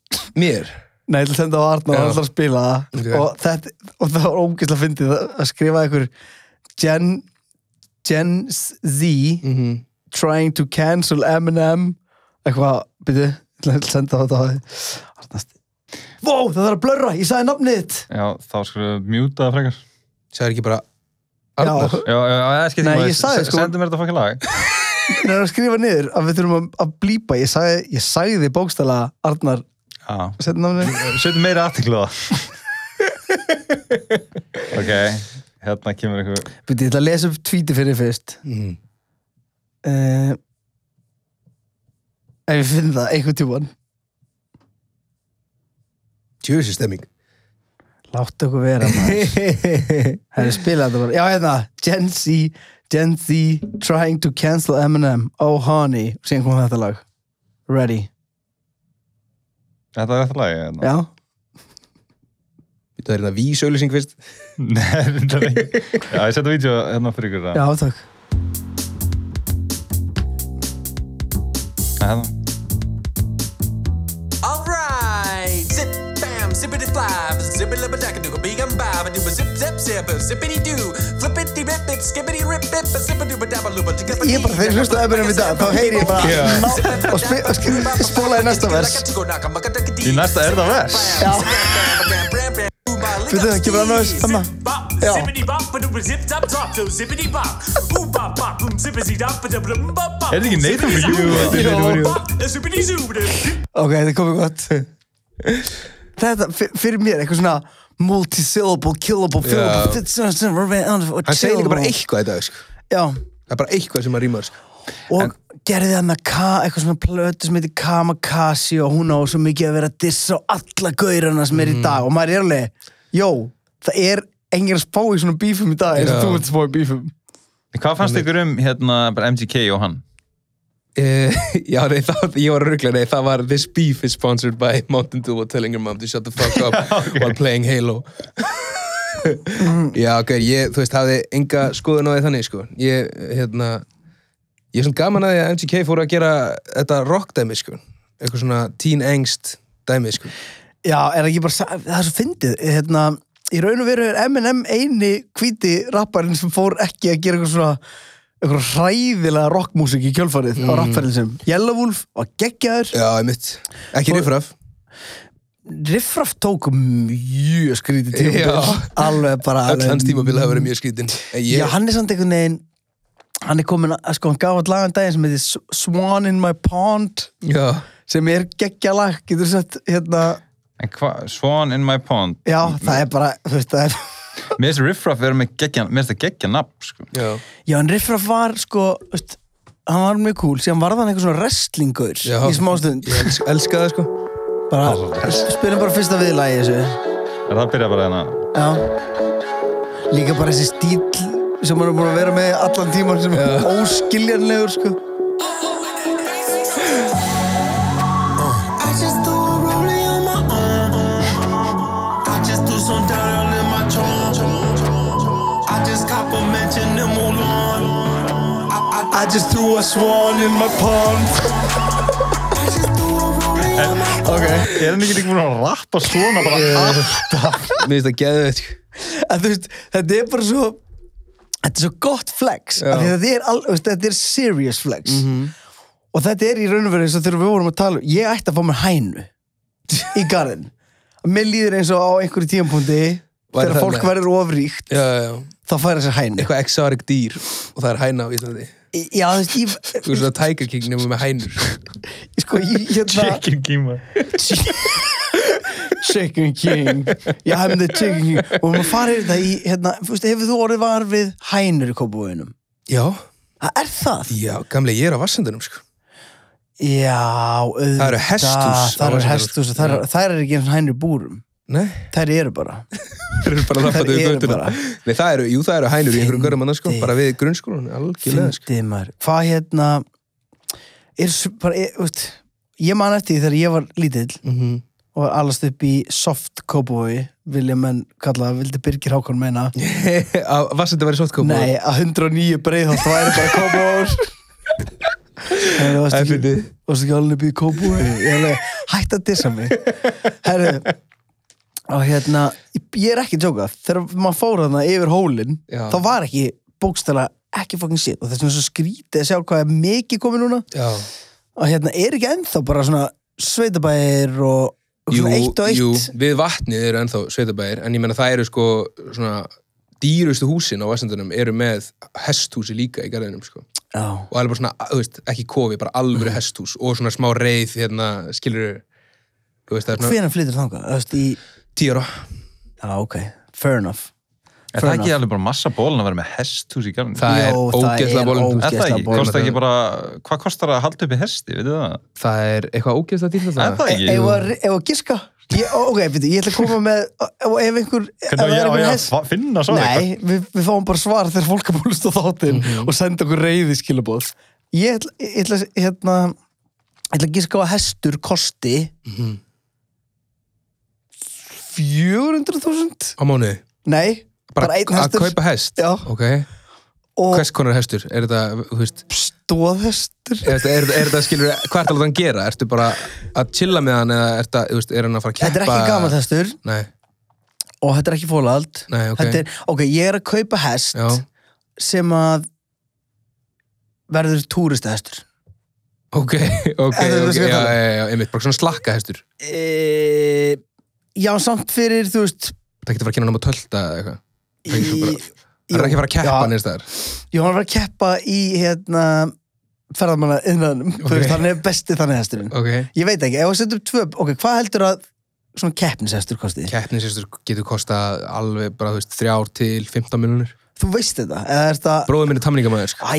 E: Mér
B: Nei, ég ætla að senda það á Arnar,
E: Já.
B: hann ætla að spila það
E: Ok.
B: og, þetta, og það var ógeðslega fyndið að að skrifa einhver Gen, Gen Z
E: Mhm.
B: trying to cancel Eminem eitthvað, byrju, ég ætla að senda það á það Arnast Vó, það þarf að blörra, ég sagði nafnið þitt
C: Já, þá skulum við mjúta það frekar
E: Sæður ekki bara
B: Já,
C: Já, já, já, það skilt
B: Nei, ég sagði, sko-
C: Sendum mér þetta fokkið lag
B: það er að skrifa niður að við þurfum að, að blípa ég sagði, ég sagði bókstala Arnar,
C: Já,
B: setja nafnið þitt.
C: setjum meira aðtiklu á það Ok, hérna kemur ykkur
B: Byrju, ég ætla að lesa upp tvíti fyrir þér fyrst
E: Mhm.
B: uh, ef ég finn það einhvern tíman
E: Tjóðsir stemming
B: Láttu okkur vera maður Herri spila þetta bara Já hérna Gen Z Gen Z Trying to cancel Eminem Oh honey Síðan kom þetta lag Ready
C: Þetta er þetta lagi hérna.
B: Já
E: Það er hérna vísauðlýsing fyrst
C: Nei, þetta er ekki Já, ég setja vídeo hérna fyrir ykkur
B: Já takk
C: Nei, hérna.
D: Alright, zip bam, zippity fly, zippity lip a dackadoo, big and bob, and do a zip zip zip, zippity doo, flippity rip, skippity rip, bip, a zippity doo, dabba loopa, digga
B: Ég er bara þegar ég hlusta á Eminem í dag Þá heyri ég bara
C: Já.
B: ná, Og spi- og sk- spólaði næsta vers
C: Í næsta er það vers
B: Já
D: Við
B: Byrju, það kemur annað vers, þarna. Já.
D: Er
C: Er þetta ekki Nathan for You? Þetta er Nathan for You.
B: Ok þetta er komið gott Þetta fyr- fyrir mér eitthvað svona Multisyllable Killable
E: Já.
B: Fillable
E: Hann segir líka bara eitthvað í dag sko.
B: Já
E: Það er bara eitthvað sem að rýma sko.
B: og gerði hann að eitthvað svona plötu sem heitir Kamakashi og hún á svo mikið að vera að dissa á alla gaurana sem
E: Mm.
B: er í dag og maður er alveg, jó, það er engir að spá í svona bífum í dag eins og
E: Já.
B: þú ert að spá í bífum
C: Hvað fannst ykkur um hérna bara MGK og hann?
E: Eh, Já, nei, það, ég var ruggla Nei, það var This beef is sponsored by Mountain Dew and telling your mom to shut the fuck up while playing Halo Já, ok, ég, þú veist, hafði enga skoðun á því þannig, sko Ég, hérna Ég er svona gaman að því að MTK fóru að gera þetta rock dæmi, sko Eitthvað svona teen angst dæmi, sko
B: Já, er það ekki bara, sa- það er svo fyndið hérna, í raun og veru er M&M eini hvíti rapparinn sem fór ekki að gera eitthvað svona eitthvað hræðilega rockmúsík í kjölfarið á rapparinn sem Yellowwolf og geggjaður
E: Mm. Já, einmitt Ekki
B: Fór-
E: rifraf
B: Riffraff tók mjög skrítið
E: Já.
B: tímabil alveg bara
E: Öll
B: alveg
E: hans tímabil hafa verið mjög skrítin En ég,
B: Já, hann er samt einhvern veginn hann er komin að, sko, hann gaf að lagan daginn sem heitir S- Swan in my pond
E: já
B: sem er geggja lag, getur sett hérna,
C: En hva, Swan in my pond
B: já, það er bara þú veist, það er,
C: Mér finnst Riff Raff vera með geggja Mér finnst það geggja nafn sko.
E: Já,
B: já, en Riffraff var sko, þú veist, hann var mjög cool síðan varð hann eitthvað svona wrestlingur
E: já
B: í smástund,
E: Ég elska, elska það, sko
B: bara spyrum bara fyrsta viðlagi í þessu,
C: Er það að byrja bara hérna
B: já líka bara þessi stíl sem hann er búin að vera með allan tíman sem er óskiljanlegur, sko
D: I just threw a rollie on my arm. I just threw some down on in my trunk. I just cop a mansion in Mulan. I, I,
B: I just threw a swan in my pond
D: I just threw a rollie on my arm.
B: ok
C: Ég er mikið ekki búin að rappa svona bara
E: Mér finnst það geðveikt, sko
B: að þú veist, þetta er bara svo þetta er svo gott flex
E: Já. Mhm.
B: af því þetta er, al, veist, þetta er serious flex og þetta er í raun og veru eins og þegar við vorum að tala, um, ég ætti að fá mér hænu í garðin mér líður eins og á einhverju tímpúndi
E: Væri
B: þegar
E: það
B: fólk
E: með-
B: verður ofríkt
E: Já, já, já
B: þá færa sér hænu
E: eitthvað exotic dýr og það er hæna á Íslandi
B: Í- já, þú veist, ég,
E: þú veist svona Tiger King nefnum með hænur
B: sko, ég, hérna
C: Chicken Kima
B: Chicken King já, I'm the Chicken King og maður farið þetta í, hérna, þú veist, hefur þú orðið var við hænur í kópavöginum
E: já,
B: það er það
E: já, gamlega ég er á vassendunum sko.
B: Já, auðvitað.
E: Það eru hesthús á
B: Það eru
E: Vatnsdal.
B: hesthús og það eru, það eru ekki eins og hænur í búrum.
E: nei,
B: Þær eru bara.
E: það eru bara
B: Þær
E: lappandi við
B: eru
E: gönduna
B: bara-
E: nei, það eru, jú, það eru hænur í einhverjum görðum annars sko,
B: Fyndi.
E: bara við grunnskólan, algjörlega sko.
B: Fyndið maður. Hvað hérna, er, s- bara, er, veist, ég man eftir því þegar ég var lítill
E: mm
B: og allast upp í soft cowboy, vilja menn kalla það, vildi Birgir Hákon meina.
E: að vassendun væri sótkópa
B: Nei, að 109 breið þá væri bara cowboy. Það
E: það er fyndið
B: varst ekki alveg býðið kópúi ég alveg hætti að dissa mig herru og hérna, ég er ekki að jóka þegar maður fór þarna yfir hólinn
E: Já.
B: þá var ekki bókstala ekki fucking shit og þess vegna er svo skrítið að sjá hvað er mikið komið núna
E: já,
B: og hérna er ekki ennþá bara svona sveitabæðir og og
E: jú,
B: svona eitt og eitt
E: jú, við vatnið eru ennþá sveitabæðir en ég menna það eru sko svona dýrustu húsin á vassendunum eru með hesthúsi líka í garðinum sko.
B: Já.
E: og alveg bara svona, þú veist, ekki kofi, bara
B: Mm.
E: alvöru hesthús og svona smá reið, hérna, skilur þú veist, það er svona
B: hvenær flyttir þangað? Þú veist, í...
E: tíra
B: Já, ok, fair enough
C: Er það ekki alveg bara massa bólin að vera með hesthús í garðinu?
E: Það er
B: Jó, það
E: ógeðslega
B: er
C: Er
E: bólum
C: það
B: ógeðslega
C: ekki?
B: bólin.
C: Kostar ekki bara, hvað kostar að halda upp í hesti, veitu það?
E: Það er eitthvað ógeðslega dýrt
C: Er
E: alltaf
C: það ekki?
B: Ef að- ef að giska ég, ó, Ok, veitu, ég ætla að koma með ef ef einhver ef
C: Hvernig á
B: það er
C: ég- á
B: einhver
C: ég að
B: hest-
C: fa- finna svo
B: Nei, við, við fáum bara svar þegar fólk er búin að hlusta á þáttinn
C: Mhm.
B: og senda okkur reyði skilabóð Ég ætla, ég ætla, hérna, ég ætla að gíska á að hestur kosti
C: Mhm.
B: 400.000?
E: á mánuði.
B: Nei, bara,
E: Bara
B: einn
E: að
B: hestur
E: kaupa hest?
B: Já.
E: Ok.
B: og
E: Hvers konar hestur? Er þetta, þú veist,
B: stóðhestur
E: er þetta, er, þetta- er þetta skilur, hvað ertu að láta hann gera? Ertu bara að chilla með hann eða er, þetta, þú veist, er hann að fara að keppa?
B: Þetta er ekki gamall hestur
E: Nei,
B: og þetta er ekki fólald
E: Nei, ok.
B: Þetta er, ok, ég er að kaupa hest
E: já,
B: sem að verður túristahestur
E: ok, ok,
B: Þetta er
E: ok,
B: þessi
E: já,
B: kallað.
E: já, já, einmitt, bara svona slakka hestur.
B: e, Já, samt fyrir, þú veist
E: Það getur fara að kynna hann á tölta eða eitthvað. Það getur bara-
B: í-
E: Það er ekki að fara að keppa
B: Já,
E: hann eða staðar.
B: Ég var að vera að keppa í hérna ferðamanna innanum
E: Ok.
B: okay. þannig er besti þannig hesturinn
E: Ok,
B: ég veit ekki, ef að setja upp tvö ok, hvað heldur að svona keppnishestur kosti?
E: keppnishestur getur kosta alveg bara, þú veist, þrjár til 15 miljonir.
B: þú veist þetta, eða er þetta
E: Bróðið minn er tamningamæður, sko.
B: Æ,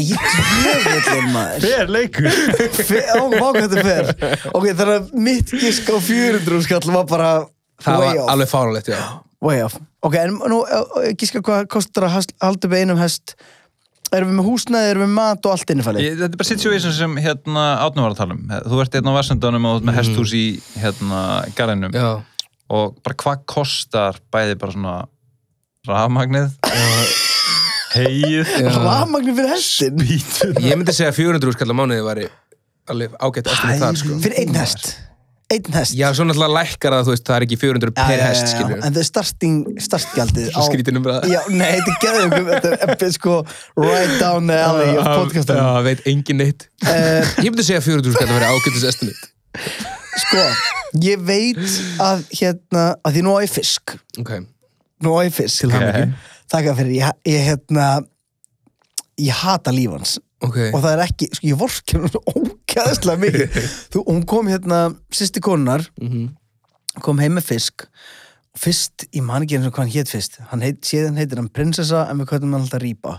B: djöfullin maður
C: Hver leikur?
B: Fe- Ó, vá hvað þetta fer Ok, þannig að mitt gisk á 400 skall var bara
E: Það
B: way
E: var
B: off,
E: alveg fáralegt, já.
B: way off Ok, en nú ö, ö, giska hvað kostar að hast- halda upp einum hest Erum við með húsnæði, erum við með mat og allt innifæli?
C: Ég- Þetta er bara situation sem hérna átnum var að tala um. Þú ert einn á Vassendunum og þú ert með hesthús í hérna garðinum
E: Mm. Já.
C: og bara hvað kostar bæði bara svona rafmagnið, heyið,
B: Rafmagnin fyrir hestin?
C: bítun.
E: Ég myndi segja að 400 skall á mánuði væri alveg ágætt eftir þar sko.
B: Fyrir einn hest Einn hest
E: Já, svo náttúrulega lækkar það, þú veist, það er ekki 400
B: Já,
E: per
B: já,
E: hest,
B: já, já.
E: skilur
B: En það er starting, startgjaldið
E: Svo skrítin umræða.
B: Já, nei, þetta er geðum Þetta er epi, sko right down the alley á
E: Já,
B: podcastanum
E: veit engin neitt
B: uh,
E: Ég myndi segja að 400 skall að vera ágættis estimate
B: Sko, ég veit að hérna, að því nú á ég fisk
E: Ok,
B: Nú á ég fisk Til
C: hamingju.
B: Takk fyrir, ég, ég hérna Ég hata lífans
E: ok
B: og það er ekki, sko ég vorkir hún ógæðslega mikið þú, hún kom hérna, sýsti konunar
C: Mhm.
B: kom heim með fisk fyrst, ég man ekki eins og hvað hann hétt fyrst hann heit, séðan heitir hann prinsessa en við kvöldum hann alltaf rýpa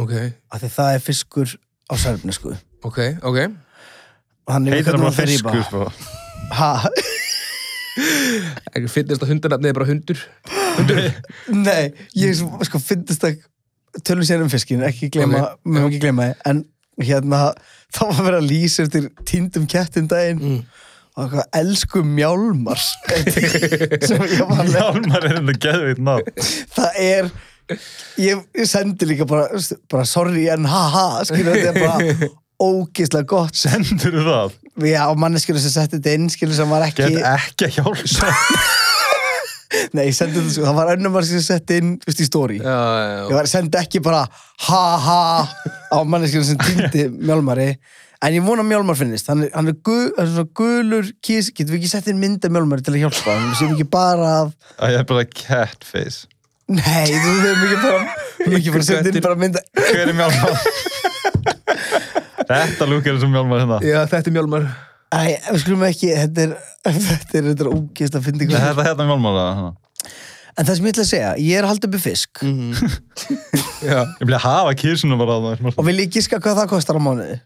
E: Ok,
B: af því það er fiskur á sörfni sko
E: ok, ok
B: og hann
C: Heitir það bara
B: rýpa
C: fiskur, sko.
B: ha,
E: Ekki fyndist að hundanafnið er bara hundur
B: nei, ég svo- sko fyndist að tölum sér um fiskin ekki gleyma,
E: Mm. Ok,
B: okay. ekki gleyma þið en hérna, þá var að vera lýs eftir týndum kettum daginn
E: Mm.
B: og eitthvað elsku mjálmar sem ég var alveg
C: Hjálmar er hérna þetta geðveit nátt.
B: það er ég, ég sendi líka bara, bara sorry en haha skilur þetta er bara ógeðslega gott
C: Sendur það?
B: já, og manneskinu sem setti þetta inn skilur sem var ekki
C: Get ekki að hjálpa.
B: nei, ég sendi þetta, sko, það var önnum manneskinu sem setti inn veist, í story
E: Já, já,
B: ég
E: já
B: var, sendi ekki bara haha á manneskinu sem týndi mjálmari en ég vona að mjálmar finnist hann er, hann er, gu, hann er svona gulur kís getum við ekki sett inn mynd af mjálmari til að hjálpa hann sem ekki bara að
C: Æ, ég er bara catface.
B: nei, þú veist ekki bara við erum ekki bara að setja inn bara mynda
C: Hver er mjálmar? Þetta lúkar sem mjálmar hérna.
E: Já, þetta er mjálmar
B: Æ, við skulum ekki, þetta er þetta er þetta ógist að finna
C: Er
B: ykkur
C: þetta hérna mjálmar eða hérna?
B: En það sem ég ætla að segja, ég er að halda uppi fisk
E: Já
C: Ég vil hafa kísuna bara að
B: og
C: það.
B: vil ég giska hvað það kostar á mánuði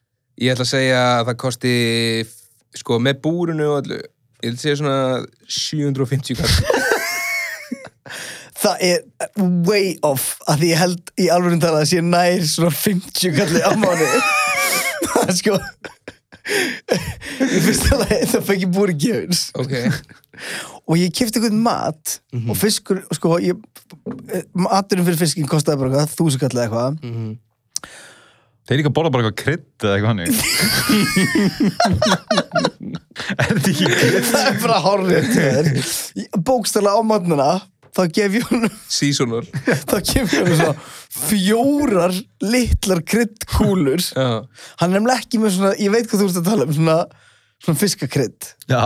E: Ég ætla að segja að það kosti sko, með búrinu og allu Ég ætla að segja svona 750 kall
B: Það er way off að því ég held í alvöru talað að sé nær svona 50 kalli á mánuði Það er sko Ég finnst að það fengi búri gefins
E: Ok,
B: og ég kefti einhvern mat og fiskur, sko ég, maturinn fyrir fiskinn kostaði bara eitthvað þúsu kallið eitthvað
C: Þeir líka borða bara eitthvað krydd eða eitthvað hannig. er þetta ekki krydd?
B: það er bara horrið til þér bókstala á matnuna þá gef ég hún
E: seasonal
B: þá gef ég hún svona fjórar litlar kryddkúlur
E: Já
B: hann er nefnilega ekki með svona ég veit hvað þú ert að tala um svona, svona fiskakrydd
C: Já.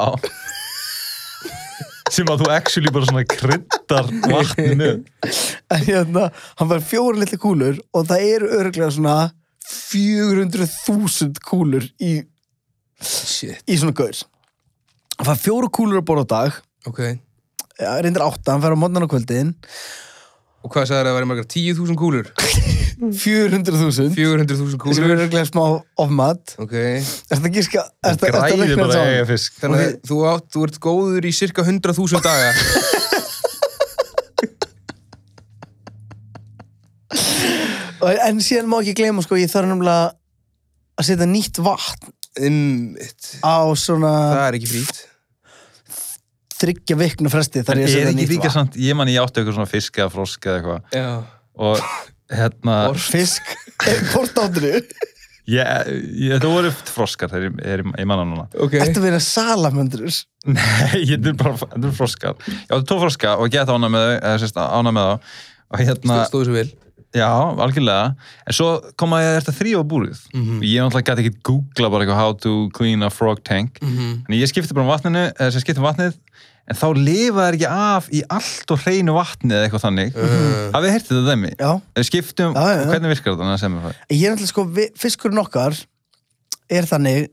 C: Sem að þú actually bara svona kryddar vatninu.
B: en hérna, hann var fjórar litlar kúlur og það eru örglega svona 400.000 kúlur í,
E: Shit,
B: í svona gaur hann fær fjóru kúlur að borða á dag
E: ok
B: ja, reyndir átta, hann fer á mótnan á kvöldin
E: Og hvað sagði það að vera margar? 10.000 kúlur?
B: 400.000
E: 400.000
B: sem er
E: kúlur?
B: örglega smá ofmat
E: Ok.
B: Er þetta gíska? Er þetta
C: Græði bara að eiga
B: saman?
C: fisk.
E: Þannig að þú, átt, þú ert góður í cirka 100.000 daga.
B: En síðan má ekki gleyma sko, ég þarf nefnilega að setja nýtt vatn
E: Einmitt.
B: á svona
E: Það er ekki frýtt.
B: þryggja vikna fresti þar
C: En
B: ég að
C: er
B: setja
C: ekki
B: nýtt
C: líka
B: vatn.
C: samt, ég man ég átti eitthvað svona fisk eða frosk eða eitthvað
E: Já.
C: og hérna,
B: Fisk, hvort átri
C: ég, ég, þetta voru froskar þegar ég, er, ég manna núna.
E: Ok.
B: Ertu verið salamöndrus?
C: Nei, ég er bara, þetta er froskar. Ég átti tvo froska og gett ána með þau, eða sérst ána með þá og hérna,
E: Stóðu svo vel.
C: já, algjörlega, en svo kom að ég þetta þrýfa búrið
E: Mhm.
C: og ég náttúrulega gæti ekkert googla bara eitthvað how to clean a frog tank
E: Mhm.
C: Þannig ég skipti bara um vatninu, eða sem skipti um vatnið, en þá lifa þær ekki af í allt og hreinu vatni eða eitthvað þannig.
E: Eh.
C: Mhm. Hafið þið heyrtið þetta dæmi?
B: Já
C: Ef við skiptum,
B: Já, já, já.
C: hvernig virkar þetta? Nei, segðu mér það.
B: Ég er náttúrulega sko, vi- fiskurinn okkar er þannig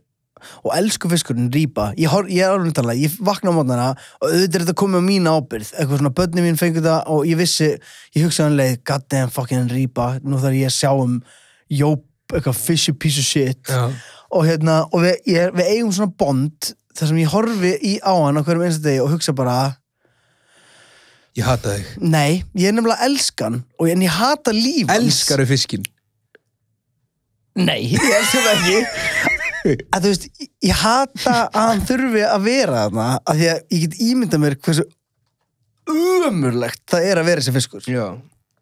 B: og elsku fiskurinn rýpa ég, hor, ég er alveg talega, ég vakna á mótnana og auðvitað er þetta komið á mín ábyrgð eitthvað svona, börnin mín fengur það og ég vissi ég hugsaði hann leið, god damn fucking rýpa nú þarf ég að sjá um jóp, eitthvað fishy piece of shit
E: Já.
B: og hérna, og við, ég, við eigum svona bond þar sem ég horfi í á hann á hverjum einsta degi og hugsa bara
E: Ég hata þig.
B: nei, ég er nefnilega elskan og en ég hata líf hans.
E: Elskaru fiskinn.
B: Nei, ég elskum það ekki að þú veist, ég- ég hata að hann þurfi að vera þarna að því að ég get ímyndað mér hversu umurlegt það er að vera þessi fiskur
E: Já.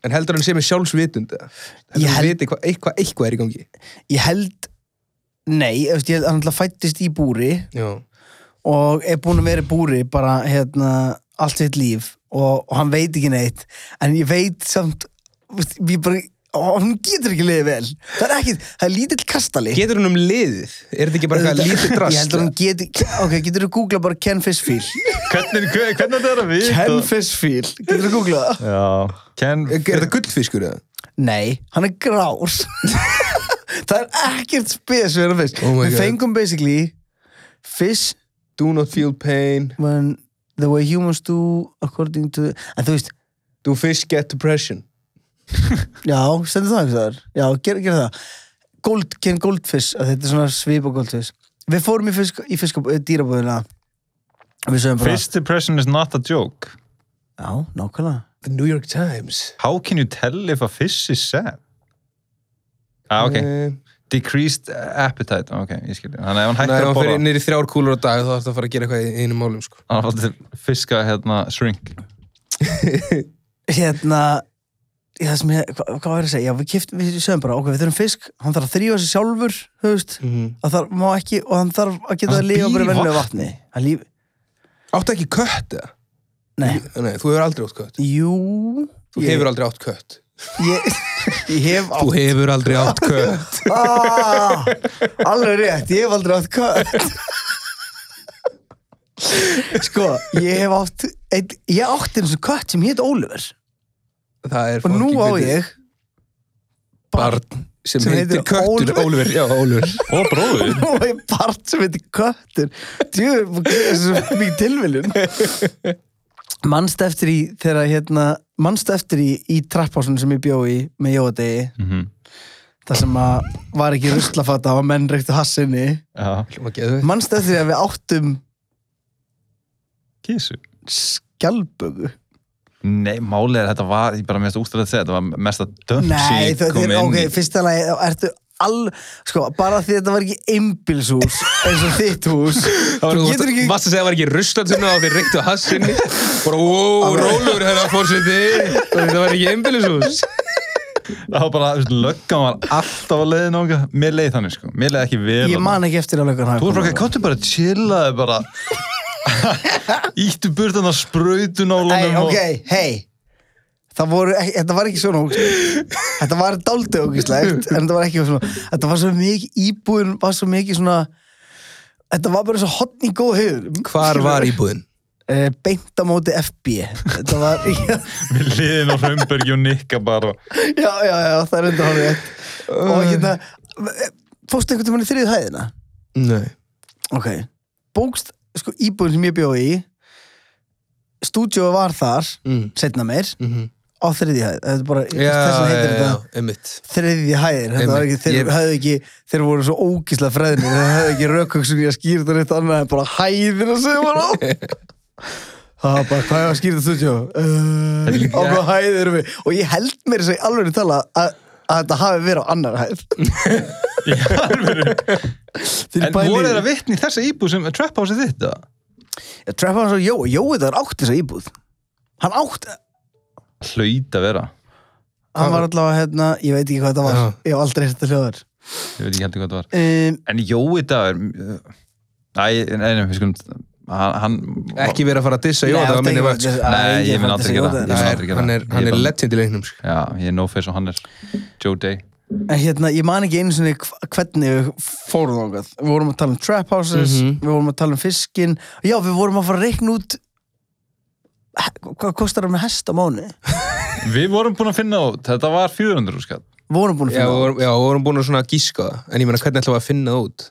E: En heldur hann sé með sjálfsvitund? eða? Heldur
B: Ég
E: hann
B: held-
E: viti hvað eitthvað, eitthvað er í gangi?
B: ég held, nei, ég veist, ég held að hann alltaf fættist í búri
E: Já.
B: og er búin að vera í búri bara hérna, allt sitt líf og, og hann veit ekki neitt en ég veit samt þú veist, ég bara, og hann getur ekki liðið vel það er ekkit, það er lítill kastali
E: Getur hann um liðið? Er þetta ekki bara eitthvað lítið drast?
B: ég heldur hann geti, ok, getur þú googlað bara Ken Fishfeel
C: Hvernig, hver- hvernig þetta er að vita?
B: Ken Fishfeel, getur þú googlað það?
C: Já, Ken...
E: Er þetta gullfiskur eða?
B: Nei, hann er grár Það er ekkert spes við hann fisk
E: Oh my
B: Við
E: God.
B: fengum basically Fish
E: Do not feel pain.
B: when the way humans do according to En þú veist,
E: Do fish get depression?
B: já, stendur það einhvers þar Já, gera ger það Gold, Ken Goldfish, að þetta er svona svipa Goldfish Við fórum í, fisk, í fisk, dýrabúðina Við sögum bara
C: First depression is not a joke.
B: Já, nákvæmlega
E: The New York Times.
C: How can you tell if a fish is sad? Ah, ok.
E: Eh,
C: Decreased appetite, ok, ég skilja. Þannig að ef hann
E: Nei,
C: hættir
E: hann
C: að
E: fyrir
C: borða,
E: niður í þrjár kúlur á dag þá þarf það að fara að gera eitthvað í einum málum sko.
C: hann var til fiska, hérna, shrink.
B: hérna ég, það sem ég, hva, hvað var ég að segja, já við kiftum við sögum bara, ok, við þurfum fisk, hann þarf að þrýfa sig sjálfur, þú veist að það má ekki, og hann þarf að geta
C: Hann
B: að lifa bara
C: býr
B: í
C: í
B: vennu
C: vatni.
B: vatni hann líf,
E: Áttu ekki kött eða?
B: nei,
E: Nei, þú hefur aldrei átt kött
B: jú
E: Þú
B: ég,
E: hefur aldrei átt kött
B: ég, ég hef á,
E: Þú hefur aldrei átt kött
B: ah, alveg rétt, ég hef aldrei átt kött sko, ég hef átt ein, ég átti eins og kött sem hétt Ólífer
E: Það er
B: og nú
E: fucking
B: á
E: fyndið.
B: ég
E: Barn sem,
B: sem heitir
E: heitir köttur
B: Ólfur.
E: Ólfur, já, Ólfur
C: Og bróður.
B: Nú er ég part sem heitir köttur Djú, það er svo mikið tilviljun Manst eftir í þegar hérna, manst eftir í, í trapphásinu sem ég bjó í með jóadegi
C: Mhm.
B: þar sem að var ekki ruslafata og menn reyktu hassinni
C: Já,
E: Hljóma geðveikt.
B: manst eftir því að við áttum
C: kísu.
B: skjálpögu
C: Nei, málið er að þetta var, ég bara mest ústæðið að segja, þetta var mesta dömp sem
B: Nei,
C: ég
B: það
C: kom
B: er,
C: inn
B: ok,
C: í.
B: fyrsta lagi þá ertu all, sko, bara því að þetta var ekki einbilshús eins og þitt hús þú
E: Það var-
B: getur
E: Þú
B: ekki
E: varst að segja að það var ekki ruslatunna og þeir reyktu að hassinni Bara, ó, rólur, herra, fórseti Það var ekki einbýlisús
C: Það var bara, þú veist, löggan var alltaf að leiðin okkar. Mér leiði þannig, sko. Mér leiði ekki vel.
B: ég
C: þarna.
B: man ekki eftir að lögur
C: Þú er bara, káttu bara, chillaði bara. Íttu burt hann að sprautu
B: Æ,
C: nálunum
B: ok, hei Það voru, ekki- þetta var ekki svona ógislegt Þetta var dálítið ógislegt En þetta var ekki svona Þetta var svo mikið, íbúðin var svo mikið svona Þetta var bara svo hotn í góð höfum
E: Hvar var íbúðin?
B: Eh, Beint á móti FB Þetta var, já,
C: og við liðin á Raunbergi og Nikka bara.
B: já, já, já það er enda hálfrið Og hérna eh, Fórstu einhvern tímann í þriðu hæðina?
E: Nei
B: Ok Bókst, sko íbúðin sem ég bjóði í Stúdíó var þar,
E: Mm.
B: setna meir
E: Mhm.
B: á þriðji hæð þetta er bara,
E: Já,
B: þess að heitir
E: já,
B: þetta
E: já, einmitt.
B: þriðji hæðir þetta var ekki, þeir,
E: Ég-
B: höfðu ekki, þeir voru svo ógísla freðnir þeir höfðu ekki rökkugsun í að skýra þetta neitt annað en bara hæðina sem var á það var bara, hvað er að skýra þetta stúdjó
C: er
B: uh,
C: líka-
B: á hvað hæð erum við og ég held mér þess að alveg tala að, að þetta hafi verið á annar hæð
C: En voru þeir að vitni í þessa íbúð sem trap house þitt eða?
B: Trap House og Jói, Jói það er átt þessa íbúð hann átt,
C: Hlaut að vera
B: hann var allavega hérna ég veit ekki hvað þetta var,
E: Já.
B: ég hef aldrei hitt þetta hljóðar
C: Ég veit ekki heldur hvað það var
B: um,
C: En Jói dagur uh, Æ, nei, nei, við skulum Hann, hann
E: Ekki verið að fara að dissa Jóa, það var minni vakt. sko.
C: Nei, ég mun aldrei gera það.
B: það
C: Nei.
B: Nei.
C: er ekki það.
E: Hann er,
C: Ég
E: hann er
C: bara-
E: legend í leiknum, sko.
C: Já, ég er no face og hann er Joe Day
B: En hérna, ég man ekki einu sinni hv- hvernig við fórum þákað. Við vorum að tala um trap houses, við vorum að tala um fiskin. Já, við vorum að fara að reikna út he- hvað kostar það með hest á mánu.
C: Við vorum búin að finna út, þetta var 400 skatt
B: Við vorum búin að
E: Já,
B: finna
E: við
B: það.
E: vorum- já, við vorum búin að svona gíska það. En ég meina, hvernig ætlum við að finna það út?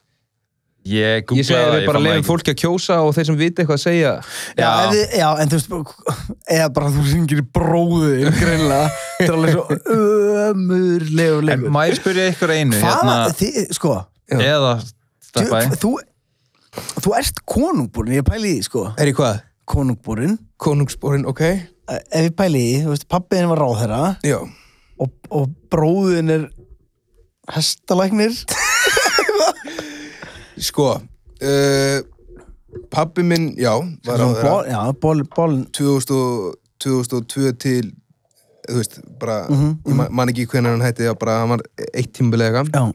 C: Ég
E: Ég segi
C: googlaði
E: að
C: það,
E: við bara
C: fann það
E: leiðum
C: ekki.
E: fólki að kjósa og þeir sem vita eitthvað að segja.
B: Já, ef þið- já, en þú veist, bara- eða bara þú syngir í bróðu, greinlega. Þetta er alveg svo ömurlegu
C: En
B: leikur.
C: má ég spyrja ykkur einu
B: Hvað,
C: hérna,
B: þið, sko,
C: Eða
B: þú,
C: steppa í
B: þú, þú ert konungborinn, ég pæli í því, sko.
E: Er í hvað?
B: Konungborinn,
E: Konungsborinn, ok?
B: ef ég pæli í því, þú veist, pappiðin var ráðherra.
E: Já.
B: og, og bróðin er hestalæknir
E: Sko, uh, pabbi minn, já, var á
B: Svona
E: þeirra.
B: bol, já, bol, bol,
E: 2000 og- 2002 til, þú veist, bara,
B: Mhm,
E: ég man, man ekki hvernig hann hætti, já, bara, hann var eitt tímulega.
B: já, Mhm.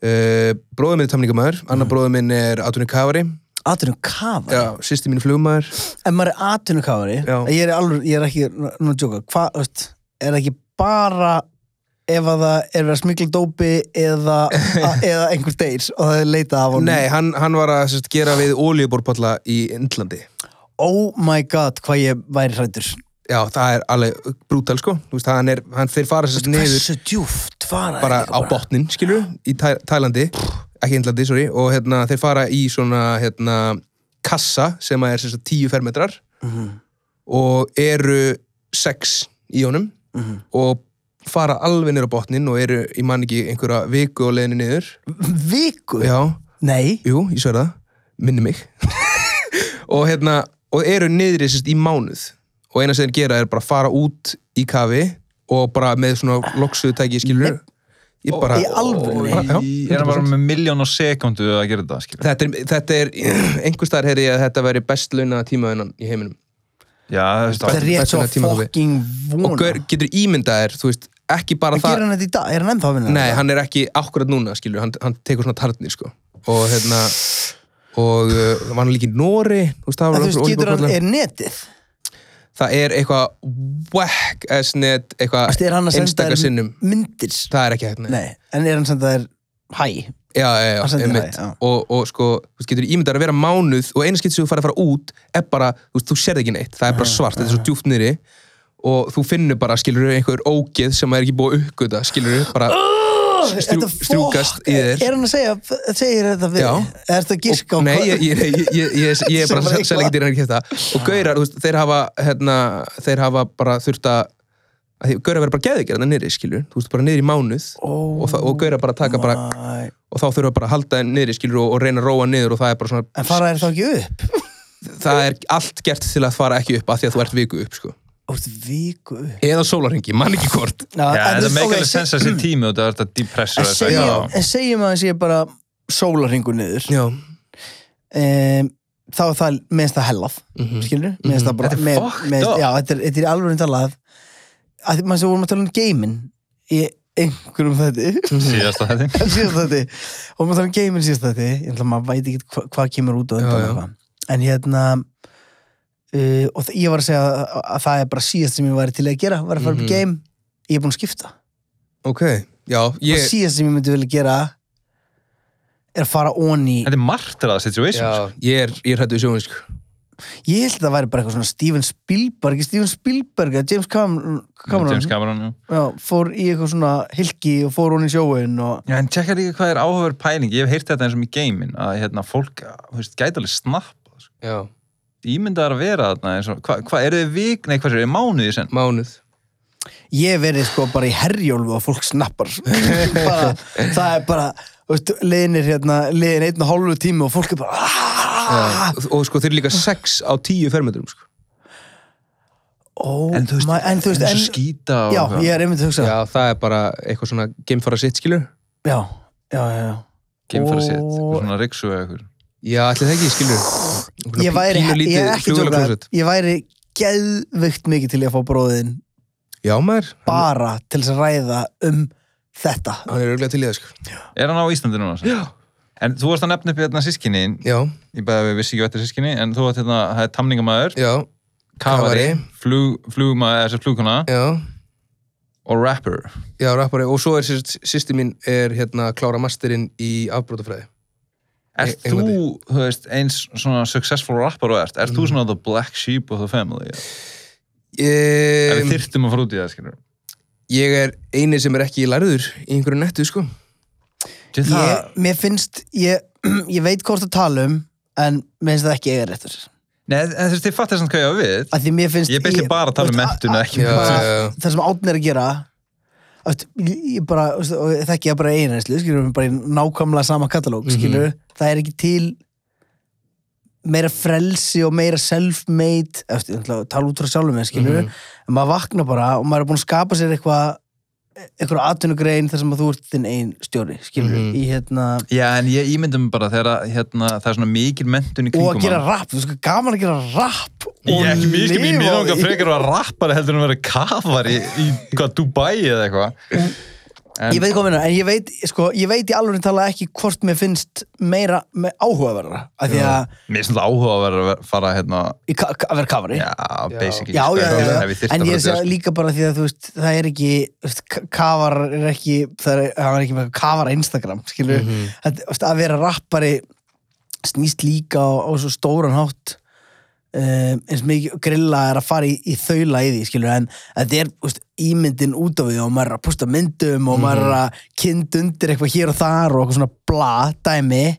E: Uh, bróður minn er tamningamæður, annar bróður minn er Atvinni Kavari,
B: atvinnum kafari
E: já, sýsti mín er flugmaður.
B: ef maður er atvinnum kafari
E: Já.
B: ég er, alveg, ég er ekki, nú nú að djóka hvað, þú veist, er ekki bara ef að það er verið að smikla dópi eða, a- eða einhver deyr og það er leitað af honum
E: Nei, hann, hann var að sérst, gera við ólíubórpalla í Indlandi.
B: oh my god, hvað ég væri hrættur
E: Já, það er alveg brútal, sko. Þú veist, hann er, hann, þeir fara sérst niður.
B: hversu djúft var það
E: bara
B: líka
E: á botnin, skilur í Tæ Tælandi, ekki Indlandi, sorry og hérna, þeir fara í svona hérna, kassa sem að er sem sagt, 10 fermetrar og eru sex í honum og fara alveg niður á botnin og eru, ég man ekki, einhverja viku og leiðinni niður
B: viku,
E: Já,
B: nei
E: jú, ég sver það, minni mig og hérna og eru niðri sérst í mánuð og eina sem þeir gera er bara fara út í kafi og bara með svona loksuðu tæki skilur ég bara,
B: Í alvöru?
E: bara, já,
C: Ég er bara
E: 100%.
C: með miljón á sekundu að gera þetta skilur.
E: þetta er, þetta er einhver staðar heyri ég að þetta væri best launa tímaðunan í heiminum
C: Já,
B: það er rétt svo
E: Besta tímabil.
B: fucking
E: og
B: vona
E: gaur, getur ímyndað þér, þú veist, ekki bara
B: En gerir
E: það
B: hann þetta í dag? Er hann ennþá að vinna?
E: nei, hann er ekki akkurat núna skilur, hann, hann tekur svona tarnir sko og hérna og uh, var hann líka í Nóri þú veist, það
B: En
E: var
B: þú veist,
E: okkur
B: getur hann,
E: olíuborpallar.
B: er netið?
E: það er eitthvað whack as net, eitthvað
B: Þú veist, er hann að senda
E: einstaka
B: þér
E: sinnum
B: myndir?
E: það er ekki hægt, nei,
B: Nei, en er hann senda þér hæ?
E: já, já, já,
B: Hann sendir
E: einmitt.
B: það, já.
E: og, og sko, þú veist, getur ímyndar að vera mánuð og eina skipt sem þú farið að fara út er bara, þú veist, þú sérð ekki neitt, það er bara svart þetta er svo djúpt niðri og þú finnur bara, skilur einhver ógeð sem er ekki búið að uppgöta, skilur bara strjú,
B: Þetta
E: strjúkast
B: fokk-
E: í þér
B: Er hann að segja, segir þetta við?
E: Já.
B: Er þetta gísk á
E: Og- Nei,
B: hvað-
E: ég, ég, ég, ég, ég, ég er bara
B: sko. Sem var
E: sel- sel ekki dýran ekki þetta og gaurar, þú veist, þeir hafa hérna, þeir hafa bara þurft að að því gaurar verður bara geðugjörna niðri, skilur þú veist, bara niðri í mánuð
B: Ó,
E: og, það- og gaurar bara taka bara
B: Æ,
E: og þá þurfa bara að halda þeim niðri, skilur og, og reyna að róa niður og það er bara svona
B: En fara þér þá ekki upp?
E: það er allt gert til að fara ekki upp af því að þú ert viku upp, sko
B: Þú veist, viku upp.
E: eða sólarhingi, mann ekki hvort
B: Já,
C: Já,
B: en þú
C: þetta
B: veist,
C: meikar
B: ok,
C: alveg
B: se-
C: sens að þessi tími og þetta er þetta depressur
B: en
C: og
B: segjum-
C: eitthvað.
B: En segjum að það sé bara sólarringu niður.
E: Já,
B: um, þá er það meðst það hellað
E: Mhm.
B: skilur, meðst það bara
C: Mm. Mm-hmm. Þetta er
B: með-
C: fucked
B: með-
C: up.
B: já, þetta er, þetta er alveg talað að því maður sem vorum að tala um geimin í einhverjum þetta
C: Síðasta þetta
B: síðast þetta vorum að tala um geimin síðast þetta ég ætla maður veit ekki hva, hvað kemur út á undan
E: Já, já.
B: og hvað. en hérna uh, og þ- ég var að segja að, að það er bara síðast sem ég væri til að gera var að fara upp
C: Mhm.
B: í geim ég er búin að skipta
E: ok Já,
B: yeah.
E: ég
B: síðast sem ég myndi vilja gera er að fara onni
C: Þetta er martraða situation sko.
E: Já, ég er, ég er hættu í sjónu, sko
B: Ég held að það væri bara eitthvað svona Steven Spielberg, Steven Spielberg eða James Cam- Cameron,
C: James Cameron já.
B: Já, fór í eitthvað svona hilki og fór hún í sjóin og
C: Já, en tjekka líka hvað er áhugaverð pæling Ég hef heyrt þetta eins og í geimin að hérna, fólk, þú veist, gæti alveg snapp sko.
E: Já,
C: Ímyndaðar að vera þarna eins og, hvað hva, eru þið vik, nei hvað er þið, mánuði sen
E: mánuð
B: ég hef verið sko bara í herjólfu og fólk snappar bara, það er bara þú veist, leiðin er hérna, leiðin einn og hálfu tími og fólk er bara "Ah!"
E: og, og sko þeir eru líka 6 á 10 fermetrum sko.
B: Ó,
C: En þú veist,
B: ma- oh en þú veist
C: en
B: en,
C: svo skýta og
B: já,
C: eitthvað.
B: ég er einmitt að hugsa já,
E: Já, það er bara eitthvað svona geimfara sitt skilur
B: já, já, já.
C: Geimfara sitt,
B: Og-
C: eitthvað svona riksu eða eitthvað.
E: Já, allir það ekki skilur Svona
B: ég væri,
E: pínu
B: ég
E: lítið
B: er ekki
E: flugvéla
B: tjóka
E: klósett.
B: ég væri geðvikt mikið til ég að fá bróðin
E: Já maður,
B: bara til þess að ræða um þetta
E: hann er auðvitað til í það sko.
C: Er hann á Íslandi núna? Já. En þú varst að nefna upp hérna sískinni,
E: Já,
C: ég bæði við vissi ekki vettir sískinni, en þú varst hérna, það er tamningamæður,
E: já,
C: kafari,
E: Kafari.
C: flug, flugmaður, þessi flugkona
E: já
C: og rapper.
E: Já, rappari, og svo er sýst- sýsti mín er hérna klára masterinn í afbrótafræði
C: Er
E: Í
C: þú,
E: Englandi.
C: þú veist, eins svona successful rapper og ert, er þú svona the black sheep of the family? Um,
E: Ég,
C: við þyrftum að fara út í það, skilur.
E: ég er eini sem er ekki lærður í einhverju nettu sko
C: Ég, það,
B: ég, mér finnst ég, ég veit hvort að tala um en mér finnst það ekki eiga réttur
C: Nei, en þess að þið fattir samt hvað ég á við.
B: að því mér finnst
C: Ég er basically bara að tala um sko.
B: veist,
C: menntun,
B: að-
C: ekki
B: að-
E: um-
B: bara
E: Já, já, já.
B: það sem átn er að gera þú veist, ég bara, þú veist, og þekki ég bara einhverslu skilur við bara í nákvæmlega sama katalóg
C: Mhm.
B: skilur það er ekki til meira frelsi og meira self-made eftir, ætla, að tala út frá sjálfum með skilur
C: Mhm.
B: en maður vaknar bara og maður er búin að skapa sér eitthvað eitthvað atvinnugrein þar sem að þú ert þinn einn stjóri skilur
C: Mhm.
B: í hérna
C: Já, en ég ímyndum bara þegar að, hérna, það er svona mikil mentun í
B: og að
C: kringum
B: gera rap, þú sko gaman að gera rap og
C: Ég er ekki mikið mín, mér
B: lifa á
C: langar
B: því.
C: frekar að vera rappari heldur en að vera kafari í hvað, Dubai eða eitthvað. En-
B: ég veit hvað minna, en ég veit, sko, ég veit í alveg tala ekki hvort mér finnst meira með áhugaverðara, af því að
C: Mér er svona áhuga að vera að fara hérna,
B: í ka- ka- að vera kafari
C: já, basically.
B: já,
C: sko,
B: já, já,
C: ef
B: já.
C: þyrfti
B: en
C: að
B: ég sé
C: fara út í það, sko.
B: líka bara því að þú veist, það er ekki þú veist, ka- kafar er ekki það er, það er ekki með kafara Instagram skilur, mm -hmm. að vera rappari snýst líka á, á svo stóran hátt um, eins mikið grilla er að fara í, í þaula í því, skilur, en þetta er úst, ímyndin út af því og maður er að posta myndum og maður er að kynnt undir eitthvað hér og þar og eitthvað svona bla dæmi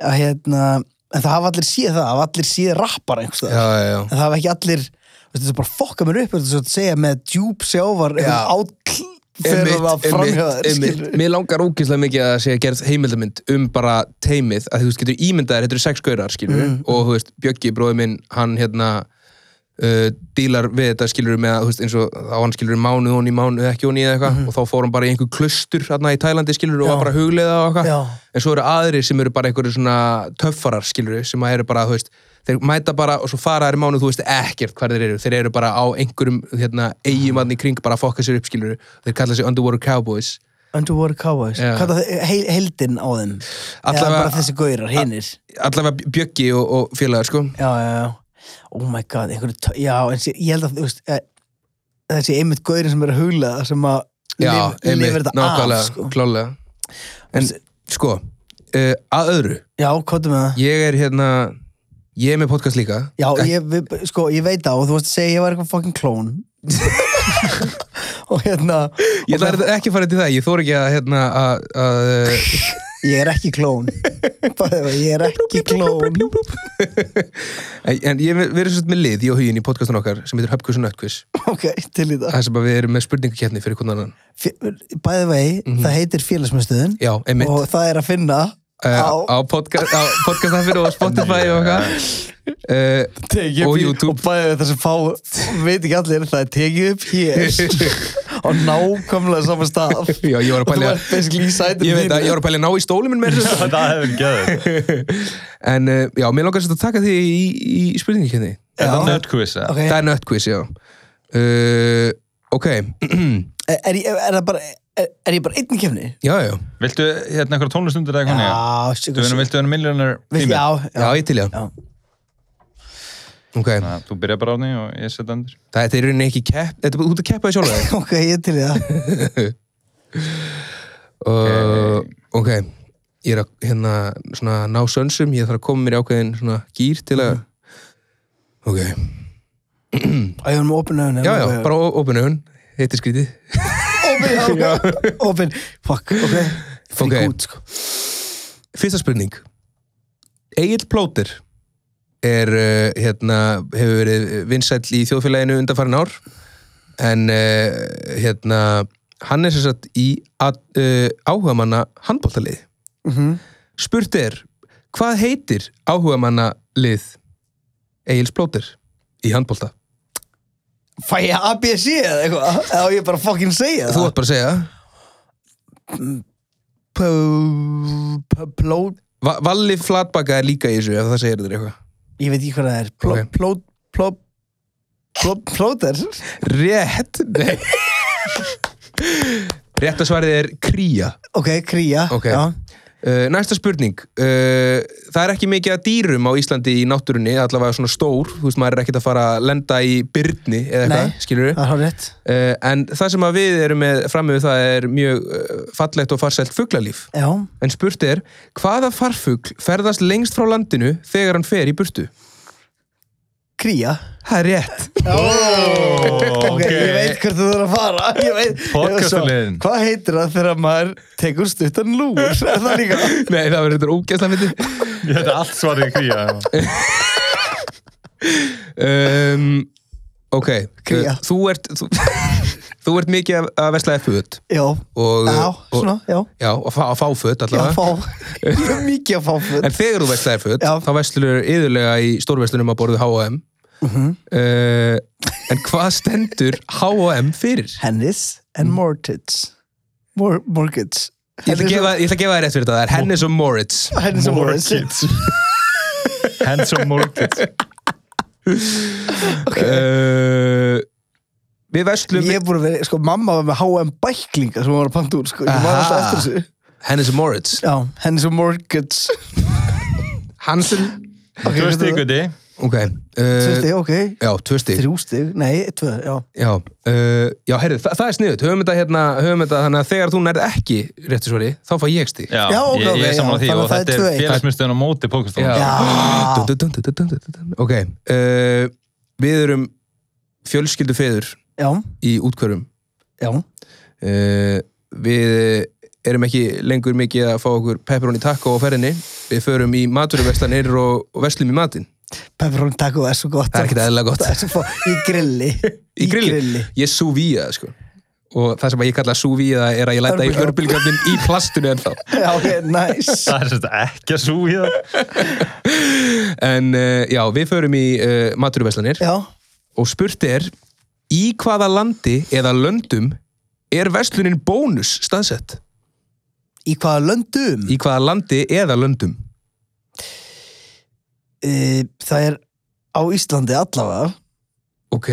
B: að, hérna, en það hafa allir síð það, hafa allir síð rappar einhvers
E: Já,
B: staðar,
E: já, já
B: en það hafa ekki allir veist, þess að bara fokka mér upp, þess að segja með djúb sjávar,
E: Já.
B: eitthvað átkl fyrir
E: Einmitt,
B: að framhjóða
E: einmitt,
B: þér,
E: einmitt.
B: skilur
E: Mér langar ógeðslega mikið að segja gerð heimildamynd um bara teimið að þú veist, getur ímyndaðir, þetta eru sex gaurar skilur
B: Mhm.
E: og þú veist, Bjöggi, bróði minn hann hérna uh, dílar við þetta skilur með að, þú veist, eins og þá hann skilur mánuð, hún í mánuð, ekki hún í eða eitthvað og þá fór hann bara í einhver klustur hérna í Tælandi skilur og var bara að hugleiða og
B: Mhm. Já.
E: eitthvað en svo eru aðrir sem eru bara einhverju svona töffarar skilur sem að eru bara, þú veist þeir mæta bara og svo fara þeir í mánuð, þú veist ekkert hver þeir eru, þeir eru bara á einhverjum hérna, eigimann í kring bara að fokka sér upp skilur þeir kalla sér Underwater Cowboys
B: Underwater Cowboys,
E: Já.
B: hvað það heil, heildin á þeim eða
E: Allavega-
B: bara þessi gaurar, hinnir
E: allavega Bjöggi og, og félagar sko
B: já, já, já oh my god, einhverju, tö- já, en sé, ég held að þú veist, eh, þessi einmitt gaurin sem er að hugla það sem að
E: Já,
B: lif-
E: einmitt,
B: lifir þetta
E: nákvæmlega,
B: af sko.
E: klálega en sko, uh, að öðru
B: já, kóttu með það
E: ég er hérna ég er með podcast líka
B: já, ég, við, sko, ég veit á, þú varst að segja ég var eitthvað fucking klón og hérna
E: ég ætla að ekki að fara til það, ég þór ekki að hérna að, að eh,
B: ég er ekki klón Bara, ég er ekki klón
E: en en ég er- við erum svolítið með lið, ég og hugin í podcastun okkar sem heitir Höpkus og Nötkvís
B: ok, til í það
E: það sem að við erum með spurningakefni fyrir hvernig annan
B: bæði vei, það heitir félagsmyndstöðin
E: já, einmitt,
B: og það er að finna
E: Eh,
B: á,
E: á, podca á podcastaffir og Spotify og eitthvað uh,
B: tekið
E: Og
B: upp í-
E: YouTube.
B: og bæði það sem fá veit ekki allir það er tekið upp hér á nákvæmlega sama stað
E: já, ég
B: og
E: var að
B: þú
E: pælja
B: ert basically í sætum
E: ég veit að ég var að pælja að ná í stólum minn með þessu
C: Það hefur geðið.
E: En uh, já, mér langar svolítið að taka því í, í, í spurninginni.
C: Er það nerdquiz, eða?
B: okay.
E: Það er nöttkvís, já. Uh, ok,
B: er, er, ég- er, það bara, er, er ég bara einn í kefni?
E: já, já.
C: Viltu hérna einhverja tónlistundir eða eitthvað? Já.
B: já,
C: Þú
B: sigur
C: verður- viltu vera millionar tími?
B: já,
E: Já, ég til já.
B: Já.
E: Ok,
C: Þannig að Þú byrja bara á því og ég setja andur.
E: það er í rauninni ekki kepp, þetta er út að keppa því sjálf það.
B: ok, ég er til í það
E: Uh, ok, ég er að hérna, svona, ná sönsum, ég þarf að koma mér í ákveðin svona gýr til að... Ok,
B: og ég var með opinn augun
E: já, já, bara opinu hún, heitir skrítið.
B: opinn, opinn, fuck, ok frík
E: Ok.
B: út, sko
E: Fyrsta spurning Egil Plóter eh, er, uh, hérna, hefur verið vinsæll í þjóðfélaginu undanfarin ár en uh, hérna hann er sem sagt í uh, áhugamanna handbóltalið spurt er hvað heitir áhugamanna lið Egil Splóter í handbólta
B: Fæ ég ABC eða eitthvað? Eða á ég bara fokkin segja
E: þú átt bara að segja
B: Þú Plót
E: Va Valli Flatbaka er líka í þessu ef það segir þér eitthvað
B: Ég veit ekki hvað það er Plót
E: Ok.
B: Plót Plót Plót Plóter
E: rétt nei rétt að svarið er kría
B: Ok, kría
E: Ok.
B: Já.
E: Uh, næsta spurning uh, Það er ekki mikið að dýrum á Íslandi í náttúrunni allavega svona stór, þú veist maður er ekkert að fara að lenda í byrni eða
B: Nei.
E: eitthvað, skilur við
B: Það er hár rétt
E: En það sem að við erum með framöfu það er mjög uh, fallegt og farsælt fuglalíf
B: Já
E: En spurt er, hvaða farfugl ferðast lengst frá landinu þegar hann fer í burtu?
B: Kría
E: Það er rétt
B: Ok, ég veit hvert þú þarf að fara Ég veit
C: Podcastaliðin.
B: Svo, Hvað heitir það þegar maður tekur stuttan lúr? Er það líka?
E: Nei, það verður þetta ógæsla myndi
C: Ég hefði allt svarið í kría.
E: um, Ok, eh,
B: Kría.
E: þú ert þú, þú ert mikið að- að vesla F-föt
B: Já
E: Og-
B: Já,
E: og-
B: svona, já
E: Já, að fá, að fá föt
B: Já,
E: allavega
B: fá Ég er mikið að fá föt
E: En þegar þú veslaðir föt,
B: Já.
E: þá veslur yðurlega í stórveslunum að borðu H&M
B: Mhm.
E: uh, En hvað stendur H&M fyrir?
B: Hennis and Mortgage Mor Mortgage
E: Mm. Ég ætla að gefa- ég ætla að gefa þér rétt fyrir þetta, það er Hennes og Moritz
B: Hennis and Mortgage
C: Hands on Mortgage.
E: uh, Við veslum
B: Ég er búin að vera, sko, mamma var með H&M bæklinga sem hún var að panta úr, sko, ég var
E: Aha.
B: alltaf eftir þessu
E: Hennes og Moritz
B: Já, Hennis and Mortgage
E: Eh. Hansen
B: Ok, þetta
C: Tvö
B: var-
C: stík, veitir.
E: Ok,
B: Tvö
E: uh,
B: stig, ok
E: já, tvö stig
B: Þrjú stig, nei, tvö, já
E: Já, uh, já herri, þa það er sniðut Höfum þetta hérna, höfum þetta þannig að þegar þú nærð ekki réttu svari, þá fá ég stig
C: Já,
B: Já, ok,
C: ég, ég
B: ok,
C: er
B: já,
C: saman á því
B: þannig að
C: og
B: það er
C: þetta er
B: 2-1.
C: félagsmyndstöðun á móti pókastónum.
B: Já,
E: Dun, dun, dun, dun, dun, dun, dun, dun. Ok, uh, við erum fjölskyldu feður
B: já,
E: í útkvörum
B: já
E: uh, Við erum ekki lengur mikið að fá okkur pepperoni taco á ferðinni Við förum í maturvestanir og, og veslum í matinn
B: Pepperoni taco er svo gott
E: Það er ekkert eðlilega gott.
B: Það er svo fó- Í grilli
E: Í grilli, Ég súvíða það sko Og það sem að ég kalla súvíða er að ég læta í
B: Örbylgjuofn.
E: örbylgjöfnin í plastinu ennþá
B: Já, ok, nice
C: Það er sérst ekki að sú í það.
E: En uh, já, við förum í uh, maturvestanir
B: Já,
E: og spurt er í hvaða landi eða löndum er verslunin bónus staðsett?
B: í hvaða löndum?
E: Í hvaða landi eða löndum?
B: Í... Eh, Það er á Íslandi allavega
E: Ok,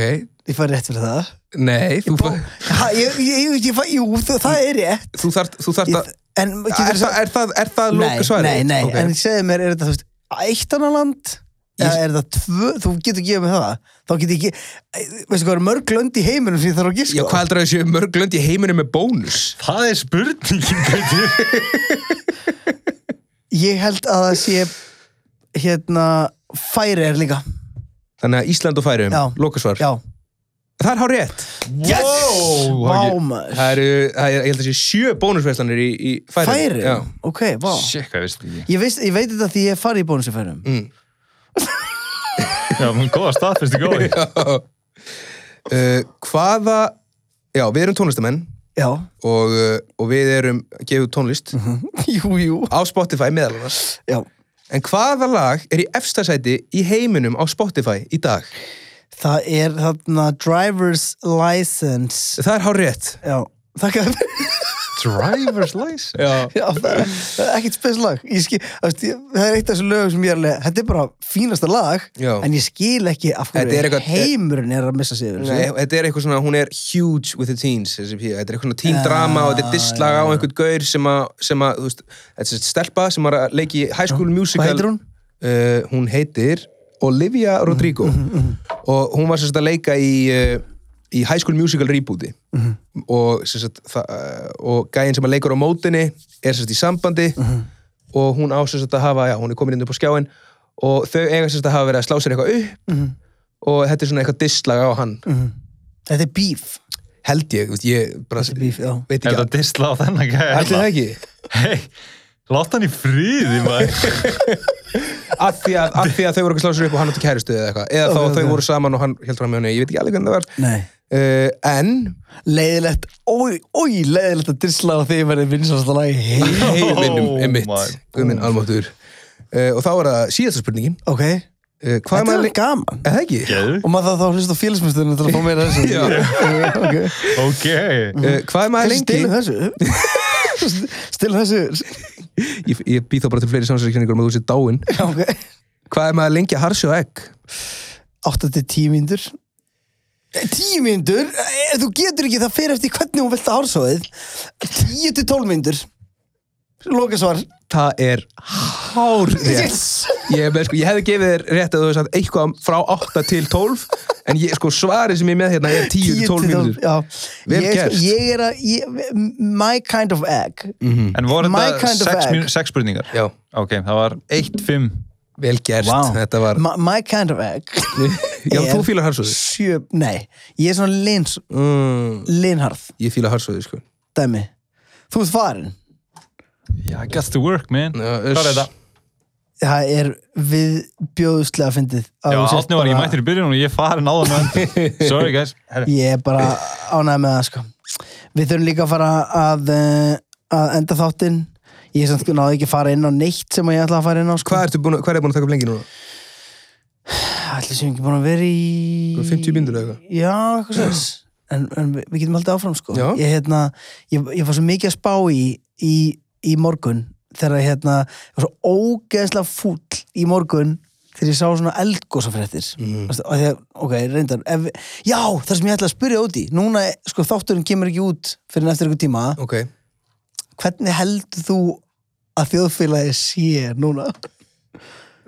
B: Ég fær rétt fyrir það
E: nei, þú,
B: Bó,
E: fa-
B: ha, ég, ég, ég, ég, fæ- jú, það, það er rétt
E: þú þarft, þú þarft
B: ég,
E: að...
B: En
E: Er,
B: getur
E: það, er það, er það
B: Nei,
E: lóka svarið?
B: nei, nei,
E: Ok.
B: en segðu mér, er þetta þú veist, eitt annað land? Eða er þetta tvö, þú getur gefið mér það Þá getur ég ekki, veistu hvað er mörg lönd í heiminum sem ég þarf að
E: Já,
B: giska á?
E: hvað heldur að þessu mörg lönd í heiminum með bónus?
C: Það er spurningin, veitir.
B: Ég held að það sé hérna, færi er líka
E: Þannig að Ísland og Færum,
B: Já.
E: lóka svar.
B: Já,
E: Það er hár rétt.
B: yes!
C: Wow,
B: Vámaður
E: Það eru, það er, ég held að þessu sjö bónusverslanir í, í Færum.
B: Færi,
E: Já.
B: ok, vá
C: Sjekk, hvað ég veist ekki.
B: Ég, veist, ég veit þetta því ég fari í bónusifærum mm.
C: Já, menn góða stað, fyrstu góði.
E: Uh, hvaða, já, við erum tónlistamenn
B: Já,
E: og, uh, og við erum að gefa út tónlist
B: jú, jú
E: á Spotify meðal annars.
B: Já,
E: En hvaða lag er í efstasæti í heiminum á Spotify í dag?
B: það er þarna driver's license
E: Það er hár rétt.
B: Já, þakka þér
C: Driver's license.
E: Já.
B: Já, það er, það er ekkert spes lag Ég skil, það veist, ég- það er eitt af þessu lögum sem ég er alveg þetta er bara fínasta lag
E: Já.
B: en ég skil ekki af hverju
E: Þetta er eitthvað-
B: heimurinn er að missa sig yfir
E: Nei,
B: þessu.
E: þetta er eitthvað svona, hún er huge with the teens þessi pía. þetta er eitthvað svona teen drama og þetta er dislag á einhvern gaur sem að, sem að þú veist, þetta er stelpa sem var að leiki High School Musical
B: Hvað heitir hún?
E: Uh, hún heitir Olivia Rodrigo
B: Mhm,
E: og hún var sem sagt að leika í, uh, í High School Musical rebooti
B: Mhm.
E: og, sem sagt, það, uh, og gæinn sem að leikur á mótinni er sem sagt í sambandi
B: Mhm.
E: og hún á sem sagt að hafa, já hún er komin inn upp á skjáin og þau eiga sem sagt að hafa verið að slá sér eitthvað upp
B: Mhm.
E: og þetta er svona eitthvað dislag á hann
B: Þetta er bíf
E: held ég, þú veist, ég bara,
B: Þetta er bíf, já
E: veit
C: Er
E: ekki
C: það disla á þennan gæja?
E: Ætli það ekki?
C: Hei, láta hann í friði, maður.
E: Af því að, af því að þau voru ekki sláð sér upp og hann átti kæristu eða eitthvað. Eða þá
B: Ok,
E: þau
B: ok.
E: voru saman og hann heldur hann með henni. Ég veit ekki alveg hvernig það var.
B: Nei
E: uh, en
B: leiðilegt, ói, ói, leiðilegt að disla á því að verði vinsast að lagi heim
E: heiminum
C: Oh
E: er mitt
C: my
E: Guðminn almáttur uh, og þá er það síðasta spurningin
B: ok,
E: uh, hvað er
B: þetta
E: maður
B: er
E: lengi
B: gaman
E: er það ekki?
C: Geðu.
B: og maður þarf þá að hlusta á félagsmyndstunum til að fá meira af
E: Já.
B: þessu ok,
C: Ok.
E: Uh, hvað er maður lengi?
B: stilu þessu stilu þessu
E: Ég, ég býð þá bara til fleiri samsæðiskenningur um að þú sér dáinn
B: Já, ok,
E: hvað er maður lengi að harsja og egg?
B: 8 til 10 mínútur 10 mínútur? Eh, Þú getur ekki það fyrir eftir hvernig hún velta hársóðið 10 til 12 mínútur Loka svar
E: það er hár rétt ég, er með, sko, ég hefði gefið þér rétt að þú hefði sagt eitthvað frá 8 til 12 en ég, sko, svarið sem ég er með hérna er 10 til 12 mínútur
B: Já,
E: Vel
B: ég,
E: gert. Mhm.
B: sko, ég er að ég, My kind of egg
C: En voru
B: Mm. My
C: þetta
B: kind of
C: sex,
B: egg.
C: mínu- sex spurningar?
E: já,
C: Ok, það var 1-5.
E: vel gert, þetta var
B: my, my kind of egg
E: já,
B: er-
E: þú fílar harsóði
B: Sjö, nei Ég er svona lins,
E: mm,
B: linharð
E: ég fíla harsóði, sko
B: Dæmi Þú ert farin
C: Yeah, I got to work, man.
E: Já,
C: Hvað er
E: uss.
C: þetta?
B: Það er við bjóðuslega fyndið að
C: Já,
B: þú sért
C: átni var ég
B: bara-
C: mættir í byrjun og ég farin áður með endur. Sorry, guys. Herri.
B: Ég er bara ánægð með það sko Við þurfum líka að fara að, eh, að enda þáttinn Ég er samt sko náði ekki að fara inn á neitt sem ég ætla að fara inn á sko
E: hvað ertu búin, að- hvað er búin að taka upp lengi núna?
B: Ætli sem ekki búin að vera í
E: Hvað, 50 mínútur eða eitthvað?
B: Já, eitthvað sens En, en við við getum haldið áfram sko
E: Já.
B: ég, hérna, ég, ég var svo mikið að spá í í, í morgun þegar hérna, ég var svo ógeðslega fúll í morgun þegar ég sá svona eldgósafréttir mm.
E: Mhm.
B: þegar, ok, reyndar ef, já, það sem ég ætla að spyrja út í núna, sko, þátturinn kemur ekki út fyrir en eftir einhver tíma
E: ok,
B: hvernig heldur þú að þjóðfélagi sé núna?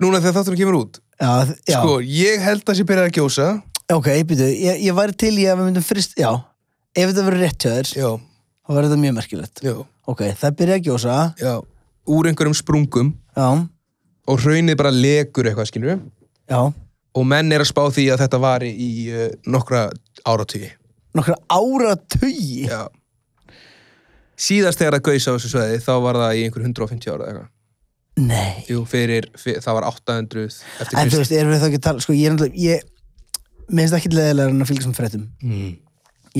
E: núna þegar þáttunum kemur út
B: Já, já.
E: sko, ég held að sé byrjað að gjósa
B: Ok, býtu, ég, ég væri til í að við myndum frist, já, ef þetta verður rétt hjá þér,
E: já,
B: þá verður þetta mjög merkilegt.
E: já,
B: Ok, það byrja að gjósa,
E: já úr einhverjum sprungum
B: já,
E: og hraunið bara lekur eitthvað, skilur
B: já,
E: og menn er að spá því að þetta vari í uh, nokkra áratugi
B: nokkra ára tugi.
E: Já. Síðast þegar það gaus á þessu sveði þá var það í einhver 150 ára eða eitthvað.
B: Nei,
E: Jú, fyrir, fyrir, það var 800 eftir
B: en þú
E: Krist.
B: veist, erum við þá ekki að tala, sko, ég er náttúrulega, ég, mér finnst ekki leðilega en að fylgjast með fréttum.
E: Mm.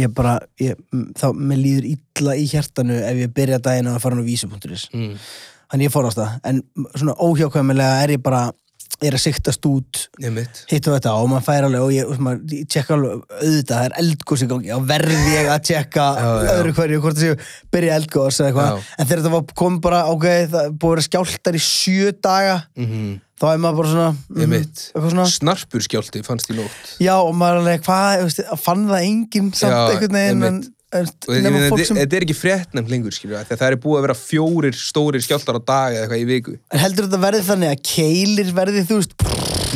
B: Ég bara, ég, m- þá, mér líður illa í hjartanu ef ég byrja daginn á að fara hann á vísu.is.
E: Mm.
B: Þannig ég forast það, en svona óhjákvæmilega er ég bara, er að siktast út
E: Einmitt.
B: hitt og þetta á og maður fær alveg og ég, og maður, ég tjekka alveg auðvitað, það er eldgós í gangi og verð ég að tjekka
E: Já, já.
B: öðru hverju hvort það séu byrja eldgós eða eitthvað
E: Já.
B: en þegar þetta var kom bara, ok, það er búið að vera skjáltar í sjö daga
E: Mm.
B: þá er maður bara svona, mhm,
E: Einmitt.
B: eitthvað svona
E: Snarpur skjálti fannst í nótt.
B: já og maður er alveg, hvað, þú veist, fann það enginn samt
E: Já,
B: einhvern veginn en, en,
E: Og ég
B: nema
E: meina,
B: fólk
E: Þetta
B: sem,
E: þetta er ekki fréttnæmt lengur, skilur við, af því að það er búið að vera fjórir stórir skjáltar á dag eða eitthvað í viku.
B: en heldur þetta verði þannig að keilir verði, þú veist,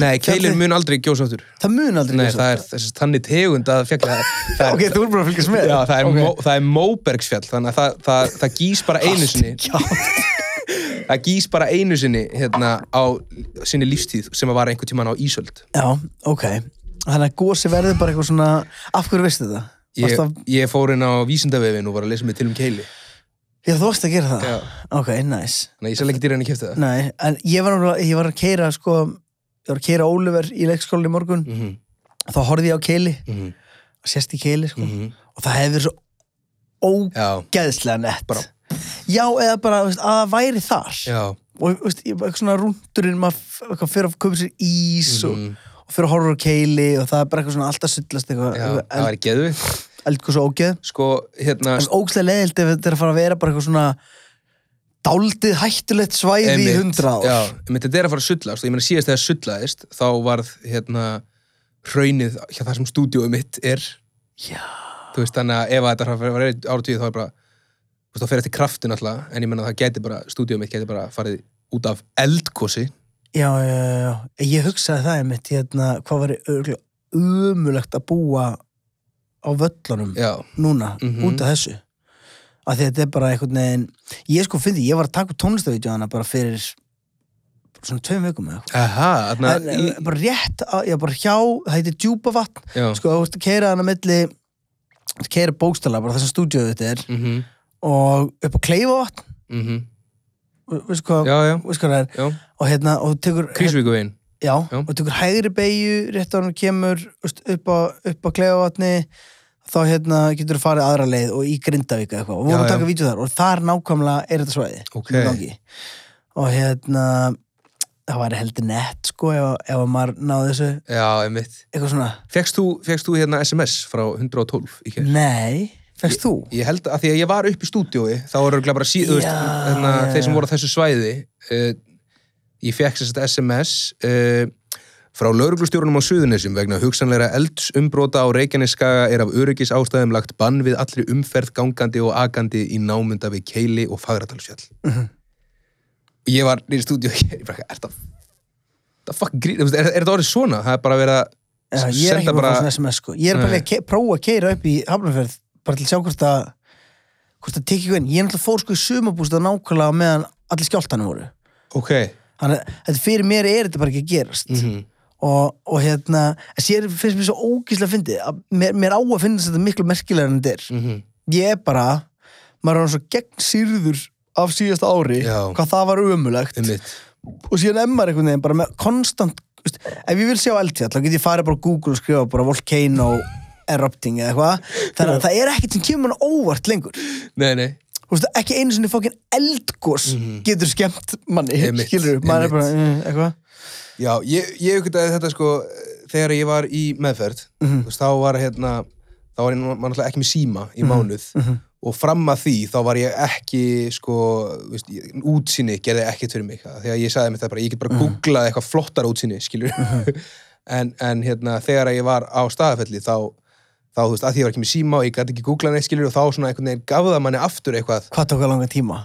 E: Nei,
B: Fjallið-
E: keilir mun aldrei gjósa áttur.
B: það mun aldrei
E: Nei,
B: gjósa.
E: það er þessi þannig tegund að fjalla. Það er,
B: ok, þú er bara að fylgjast með
E: Já, það er,
B: Ok.
E: okay. mó, það er Móbergsfjall, þannig að það, það, það gís bara einu sinni.
B: Já,
E: það gís bara einu sinni hérna, á sinni lífstíð sem að vara einhvern tíman á Ísöld
B: Já, ok. Þannig að gósi verður bara eitthvað svona... Af hverju veistu þetta?
E: ég,
B: Varst að...
E: ég fór inn á vísindavefin og var að lesa mig til um keili
B: Já, þú varst að gera það?
E: Já.
B: Ok, nice.
E: þannig að ég sæl ekki dýra henni kæfti það
B: Nei, en ég var, nefnilega- ég var að keira, sko... Ég var að keira Oliver í leikskóla í morgun.
E: mm -hmm.
B: Þá horfði ég á keili.
E: Mhm.
B: Sérst í keili, sko. Og það hefði verið svo
E: Já,
B: ógeðslega nett.
E: Bara-
B: Já, eða bara þú veist, að það væri þar.
E: já,
B: Og þú veist, ég- eitthvað svona rúndurinn, maður f- eitthvað fyrir að köpa sér ís og, og fyrir að horfa á keili og það er bara eitthvað svona alltaf sullast eitthvað,
E: Mhm. já
B: eitthvað
E: það
B: eld,
E: var geðu
B: eldgóðs og ógeð.
E: sko, hérna
B: Það er ógæslega leiðilt ef þetta er að fara að vera bara eitthvað svona dáldið hættulegt svæði í
E: einmitt,
B: hundra ár.
E: já, einmitt, þetta er að fara að sullast og ég meina síðast þegar sullaðist þá varð hérna hraunið hjá það sem stúdíóið mitt er
B: Já.
E: þú veist þannig að ef að þetta var áratvíð þá er bara þú veist þá fer eftir kraftin alltaf en ég meina það gæti bara stúdíóið mitt gæti bara farið út af eldkosi
B: Já, já, já, já. Ég hugsaði það einmitt, hérna, hvað var umulegt að búa á völlunum
E: já,
B: núna,
E: Mhm.
B: út af þessu. Af því að þetta er bara einhvern veginn, ég sko fyndi, ég var að taka upp tónlistavídeóana bara fyrir svona tveim vikum eða eitthvað.
E: aha þarna
B: En,
E: í,
B: eh, bara rétt, að, já, bara hjá, það heitir djúpavatn,
E: já,
B: sko, þú ert að keira hann að milli, keira bókstala, bara þessum stúdíóðu þetta er,
E: mm -hmm,
B: og upp á Kleifavatn veistu hvað
E: mhm. já, já,
B: veistu hvað það er
E: já
B: og hérna og þú tekur
E: Krísvíkuvegin
B: já,
E: Já.
B: og tekur hægri beigju rétt á hann kemur veist, upp á, upp á Kleifavatni þá hérna getur þú farið aðra leið og í Grindavík eða eitthvað og vorum
E: Já,
B: að taka
E: já.
B: vídeo þar og þar nákvæmlega er þetta svæði sem
E: Ok.
B: er í gangi. og hérna það væri heldur nett sko ef, ef að maður náði þessu
E: Já, einmitt.
B: eitthvað svona
E: Fegst þú, fékkst þú hérna SMS frá 112 í kjær?
B: Nei, fæst þú?
E: Ég held að því að ég var upp í stúdiói, þá voru örugglega bara síður,
B: Já,
E: hérna,
B: já,
E: þeir sem
B: já.
E: voru á þessu svæði, uh, ég fekk sérst SMS uh, frá lauruglustjórunum á Suðunisum vegna hugsanleira eldsumbróta á Reykjaneskaga er af öryggis ástæðum lagt bann við allri umferð gangandi og agandi í námunda við Keili og Fagradalsfjall.
B: Mhm.
E: Ég var nýri stúdíu og ég bara, er það, það fucking grín, þú veist, er, er þetta orðið svona? Það er bara verið að
B: Já, ég er ekki
E: senda
B: bara að
E: bara-
B: fá svona SMS sko Ég er bara
E: Nei.
B: að ke- prófa að keira upp í Hafnarferð bara til að sjá hvort að hvort að tekja inn Ég er náttúrulega fór sko í sumabústa nákvæmlega á meðan allir skjáltanum voru
E: ok,
B: Þannig að þetta fyrir mér er þetta bara ekki að gerast
E: Mhm.
B: og, og hérna en sér finnst mér svo ógíslega fyndið að mér, mér á að finnast þetta miklu merkilegar en þetta er
E: Mhm.
B: Ég er bara maður er hann svo gegn sýrður af síðasta ári
E: Já.
B: hvað það var ömulegt
E: einmitt,
B: og síðan emmar einhvern veginn bara með konstant veist, ef ég vil sjá eldfjall þá get ég farið bara á Google og skrifa bara volcano erupting eða eitthvað þannig að það er ekkert sem kemur mann óvart lengur
E: nei, nei.
B: Þú veist, ekki einu sinni fókin eldgós getur skemmt manni
E: Mhm. Einmitt,
B: skilur maður er
E: einmitt.
B: bara mm, eitthvað
E: Já, ég, ég aukvitaði þetta sko þegar ég var í meðferð þú veist, þá var hérna þá var ég nú- maður náttúrulega ekki með síma í mánuð og fram að því þá var ég ekki sko, þú veist, ég, útsýni gerði ekkert fyrir mig, það- þegar ég sagði mér það bara ég get bara googlað eitthvað flottar útsýni skilur, en, en hérna þegar ég var á staðafelli þá þá þú veist, að því ég var ekki með síma og ég gæti ekki googlað neitt skilur og þá svona einhvern veginn gaf það manni aftur eitthvað,
B: hvað tók að langa tíma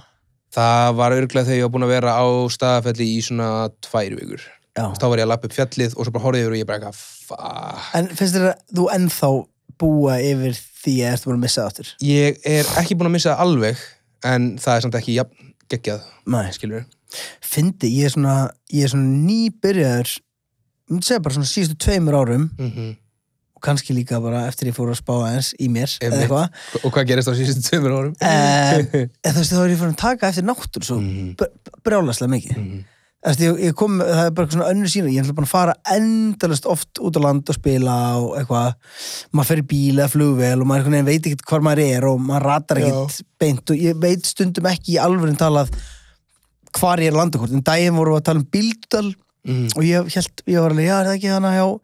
E: það var örglega þegar ég var búin að vera á staðafelli í svona tvær vikur
B: Já.
E: þá var ég að lappa upp fjallið og svo bara horfið yfir og ég bara eitthvað, fuck
B: en finnst þér að þú ennþá búa yfir því að ertu búin að missa það áttur
E: ég er ekki búin að missa það alveg en það er samt ekki jafn geggjað
B: Nei.
E: skilur
B: fyndi, ég er svona ég er svona nýbyrjaður ég myndi segja bara svona síðustu tveimur árum
E: mm -hmm.
B: og kannski líka bara eftir ég fór að spá aðeins í mér eða
E: Einmitt.
B: eitthvað
E: og hvað gerist á síðustu tveimur árum
B: Eh, en þú veist þá er ég fyrir að taka eftir náttúr svo
E: Mhm.
B: br- brjálaslega mikið mm
E: Mhm.
B: ég, ég kom, það er bara eitthvað svona önnur sína ég er bara að fara endalast oft út á land og spila og eitthvað maður fer í bíla, flugvél og maður einhvern veginn veit ekkert hvar maður er og maður ratar ekkert beint og ég veit stundum ekki í alvörin talað hvar ég er landakort en daginn vorum við að tala um bíldal
E: Mhm.
B: og ég held, ég var alveg, já er það ekki hana hjá,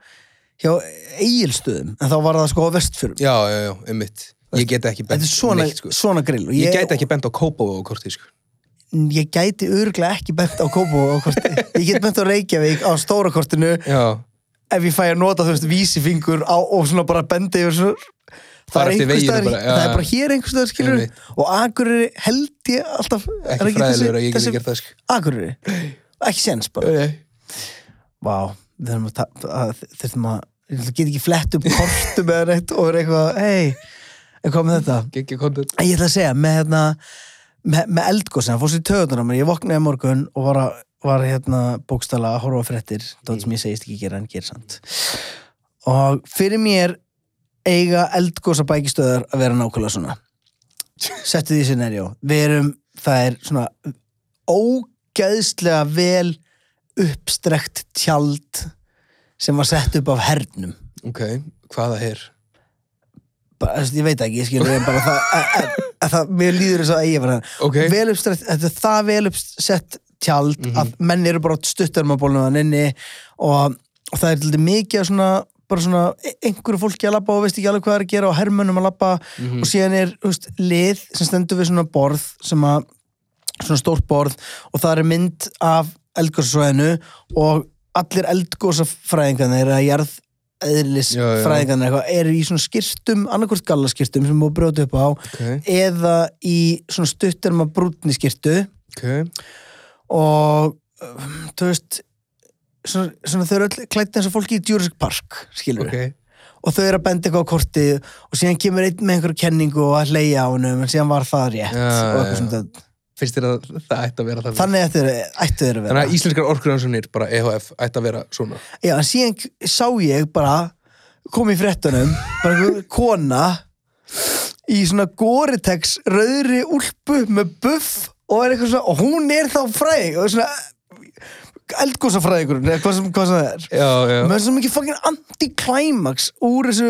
B: hjá eigilstöðum en þá var það sko á vestfjörum
E: já, já, já, einmitt ég get ekki bent
B: Þetta er svona,
E: neitt, sko.
B: svona grill og
E: ég, get ekki bent á Kópavó og kortið sko.
B: ég gæti örglega ekki bent á Kópó á korti. Ég get bent á Reykjavík á stóra kortinu
E: já,
B: ef ég fæ að nota þú veist vísifingur á, og svona bara benda yfir svona
E: Fara eftir
B: einhvers
E: veginum
B: staðar-
E: bara, já,
B: það er
E: já.
B: bara hér einhverstaðar skilur
E: Einmitt.
B: og Akureyri held ég alltaf er
E: ekki fræðilegur að ég get
B: þessi-
E: ekki gert það sko.
B: Akureyri, ekki séns bara Vá, þurfum að, ta- að þurfum að ég ætla- get ekki flett upp kortum eða neitt og er eitthvað, hei eitthvað með þetta
E: geggja kontent
B: En ég ætla að segja, með, hérna, með, með eldgósin, það fórst í töðunum, ég vaknaði í morgun og var, að, var hérna, bókstala að horfa á fréttir, þótt sem ég segist ekki gera en gera samt. Og fyrir mér eiga eldgósa bækistöðar að vera nákvæmlega svona. Settu því scenario. Við erum, það er svona ógæðslega vel uppstrekt tjald sem var sett upp af hernum.
E: ok, hvaða her
B: bara, þú veist, ég veit ekki, ég skilur bara það, að, að, að það, mér líður þess að eiga bara
E: Ok.
B: vel uppstætt, þetta er það vel uppsett tjald að menn eru bara stuttarmabólnum að nynni og, og það er til dæmis mikið af svona bara svona e- einhverju fólki að labba og veist ekki alveg hvað er að gera og hermönnum að labba og síðan er þú veist, lið sem stendur við svona borð sem að svona stórt borð og það er mynd af eldgóssvæðinu og allir eldgóssafræðingarnir eða jarð
E: Já, já.
B: eðlisfræðingarnir eitthvað, eru í svona skýrstum, annarkvort gallaskýrstum sem má brjóta upp á
E: ok,
B: eða í svona stutterma brúnni skýrtu
E: ok,
B: og um, þú veist svona, svona þau eru öll klætt eins og fólki í Jurassic Park skilur
E: ok
B: og þau eru að benda eitthvað á kortið og síðan kemur einn með einhverju kenningu og að hleyja á honum en síðan var það rétt
E: Já,
B: og
E: já,
B: eitthvað
E: já.
B: svona
E: finnst þér að það ætti að vera það
B: þannig ættu þeir- ættu þeir að vera
E: þannig að íslenskar orkurjónsjónir bara EHF ætti að vera svona
B: Já, en síðan k- sá ég bara kom í fréttunum, bara einhver kona í svona Gore-Tex rauðri úlpu með buff og er eitthvað svona, og hún er þá fræðing og svona eldgósafræðingurinn eða hvað sem, hvað sem það er
E: Já, já.
B: Mér finnst það mikið fucking anti-climax úr þessu,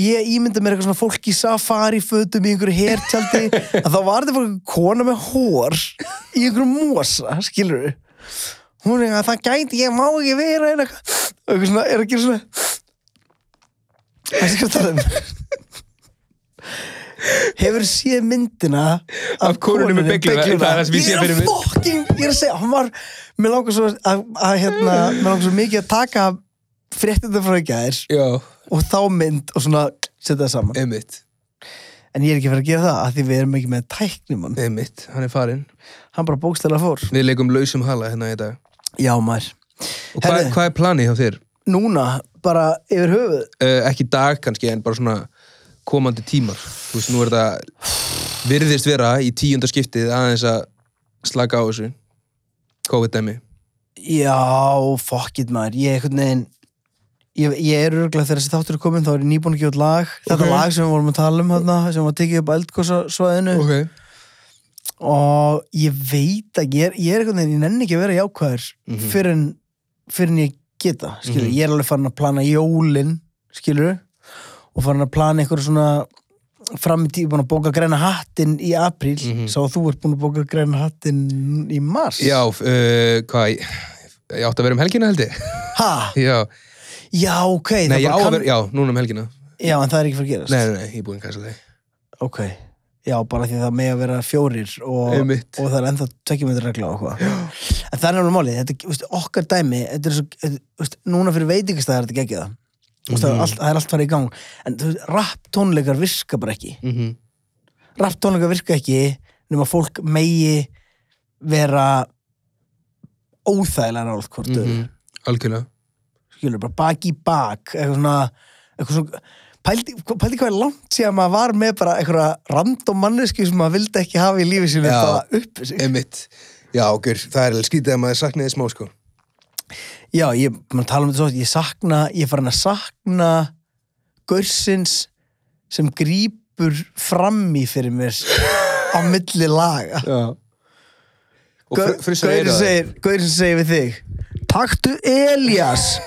B: ég ímynda mér eitthvað svona fólk í safari fötum í einhverju hertjaldi, að þá var þetta bara einhver kona með hór í einhverju mosa, skilur við hún er að það gæti, ég má ekki vera eða eitthvað, eitthvað svona, er að gera svona það er hvað að tala um hefur séð myndina
E: Af konunni með beygluna, það er það sem ég
B: ég
E: sé
B: er
E: fyrir
B: að
E: mér.
B: fucking, ég er að segja, hann var mér langar svo að, að hérna, mér langar svo mikið að taka fréttinda frá ekki aðeins
E: Já,
B: og þá mynd og svona setja það saman
E: einmitt,
B: en ég er ekki að fara að gera það, af því við erum ekki með tæknum hann,
E: einmitt, hann er farinn
B: hann bara bókstæla fór
E: Við leikum lausum hala hérna í dag
B: já maður,
E: Og hvað,
B: Herðu.
E: hvað er planið hjá þér?
B: núna bara yfir höfuð
E: uh, ekki í dag kannski en bara svona komandi tímar þú veist, nú er þetta virðist vera í tíunda skiptið aðeins að slaka á þessu COVID-dæmi
B: Já, fuck it maður Ég einhvern veginn Ég, ég er örgulega þegar þessi þáttur er komin þá er ég nýbúin að gefa út lag Þetta
E: Ok.
B: lag sem við vorum að tala um hana, sem var tekið upp eldkossasvæðinu
E: ok,
B: og ég veit að ég er, ég er einhvern veginn, ég nenni ekki að vera jákvæður mm
E: Mhm.
B: -hmm. fyrir, en, fyrir en ég geta skilur, ég er alveg farin að plana jólin skilur, og farin að plana einhver svona fram í tíu búin að bóka græna hattinn í apríl
E: Mhm.
B: sá að þú ert búin að bóka græna hattinn í mars
E: já, uh, hvað ég, ég átti að vera um helgina held ég
B: ha,
E: já,
B: já ok það
E: nei, ég
B: bara
E: á að
B: kann-
E: vera, já, núna um helgina nei,
B: Já, en það er ekki fyrir að gerast
E: nei, nei, ég er búinn að kæsa það
B: Ok, já, bara því það með að vera fjórir og,
E: Einmitt.
B: og það er ennþá tvekkjumöndur regla og hvað En það er náttúrulega málið, þetta, veist, okkar dæmi þetta er svo, þetta, veist, núna fyrir veitingastæðar þetta geggja það Þú veist, það, er allt, það er allt farið í gang En þú veist, rapp tónleikar virka bara ekki
E: mm -hmm.
B: Rapp tónleikar virka ekki nema fólk megi vera óþægilega nátt hvort mm
E: Mhm.
B: -hmm.
E: Mm-hmm. algjörlega
B: skilur, bara bak í bak eitthvað svona, eitthvað svona pældi, pældi hvað er langt síðan maður var með bara einhverja random mannesku sem maður vildi ekki hafa í lífi sinu
E: Já.
B: bara upp sig.
E: einmitt, já, okkur, það er alveg skrítið að maður saknaði smá sko
B: Já, ég, maður tala um þetta svo oft, ég sakna, ég er farin að sakna gursins sem grípur fram í fyrir mér á milli laga
E: já og
B: Gaur-
E: frissar
B: Gaurinn segir, Gaurin segir við þig Taktu Elias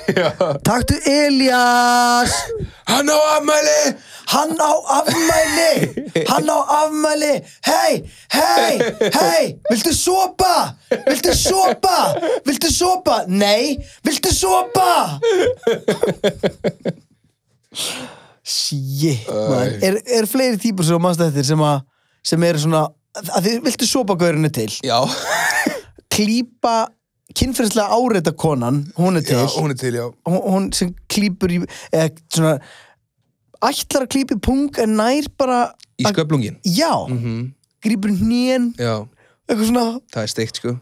B: Taktu Elias
E: hann á afmæli
B: Hann á afmæli Hann á afmæli Hei, hei, hei Viltu sopa? Viltu sopa? Viltu sopa? Nei, viltu sopa? Shit, maður er, er fleiri típur sem mannst eftir sem að sem eru svona að þið viltu sopa gaurinu til
E: já,
B: klípa kynferðslega áreita konan hún er til
E: já, hún er til, já
B: hún, hún sem klípur í eða svona ætlar að klípi pung en nær bara
E: í Mhm.
B: að,
E: sköflungin
B: já, grípur hnén
E: já
B: eitthvað svona
E: það er steikt sko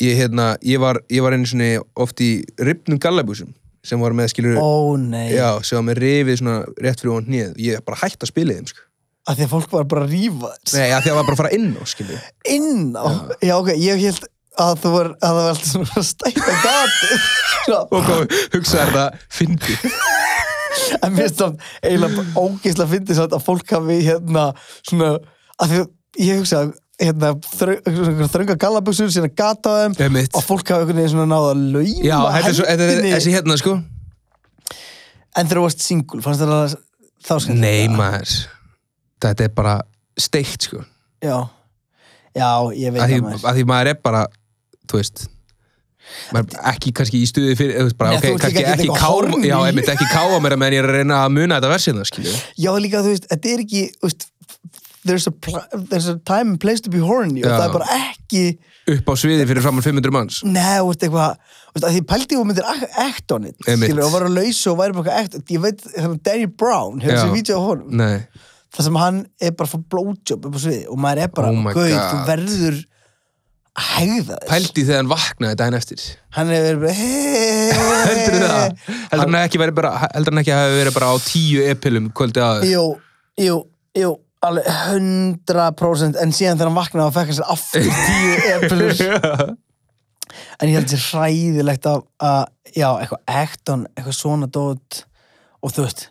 E: ég, hérna, ég, var, ég var einu sinni oft í ripnum gallabúsum sem var með skilur
B: ó nei,
E: já, sem var með rifið svona rétt fyrir hún hnið ég bara hætti að spila í þeim sko
B: að því að fólk var bara að rífa þess.
E: nei, af því að það var bara að fara inn á skilur
B: inn á, já. ok, ég held að það var, að það var alltaf svona stætt á gatið Svona,
E: og kom, hugsaði þetta fyndi
B: en mér stóð eiginlega bara ógeðslega fyndið samt að fólk hafi hérna svona, að því að ég hugsa að hérna, þröng, þrönga gallabuxur sína gata á þeim
E: Einmitt.
B: og fólk hafi einhvern veginn svona náða að lauma
E: já, þetta er svo, þetta er
B: hendinni.
E: þessi hérna sko
B: En þegar þú varst singul, fannst þér það þá skemmt?
E: nei maður, þetta er bara steikt sko
B: Já, já, ég veit
E: að því,
B: það maður.
E: að því maður er bara, þú veist maður er ekki kannski í stuði fyrir þú veist, bara,
B: Nei,
E: ok,
B: þú ert líka
E: kannski
B: ekkert
E: ekki
B: eitthvað
E: káfa
B: horny.
E: já, einmitt, ekki káfa mér að meðan ég er að reyna að muna þetta versið skilju
B: Já, líka, þú veist, þetta er ekki, þú veist, there's a, pla- there's a time and place to be horny og
E: Já.
B: það er bara ekki,
E: upp á sviði fyrir framann 500 manns
B: neða, þú veist, eitthvað, þú veist, að því pældi ég og myndir ak- act on it,
E: Einmitt.
B: skilur, og var að lausa og væri bara eitthvað act, ég veit, þannig, Danny Brown, hefur
E: Já. Mm.
B: þessi vídeo á honum,
E: Nei,
B: þar sem hann er bara að fá blowjob upp á sviði og maður er bara,
E: Oh my
B: gauð,
E: God.
B: þú verður að hegða þess.
E: pældi þegar hann vaknaði daginn eftir
B: Hann er verið bara, hei,
E: Heldur það? Heldur hann ekki, verið bara, heldur hann ekki að hafa verið bara á tíu epilum kvöldi aður?
B: Jú, jú, jú alveg 100% en síðan þegar hann vaknaði og fekk hans aftur tíu eplur en ég held sér hræðilegt að, að já, eitthvað ekton, eitthvað svona dót og þú veist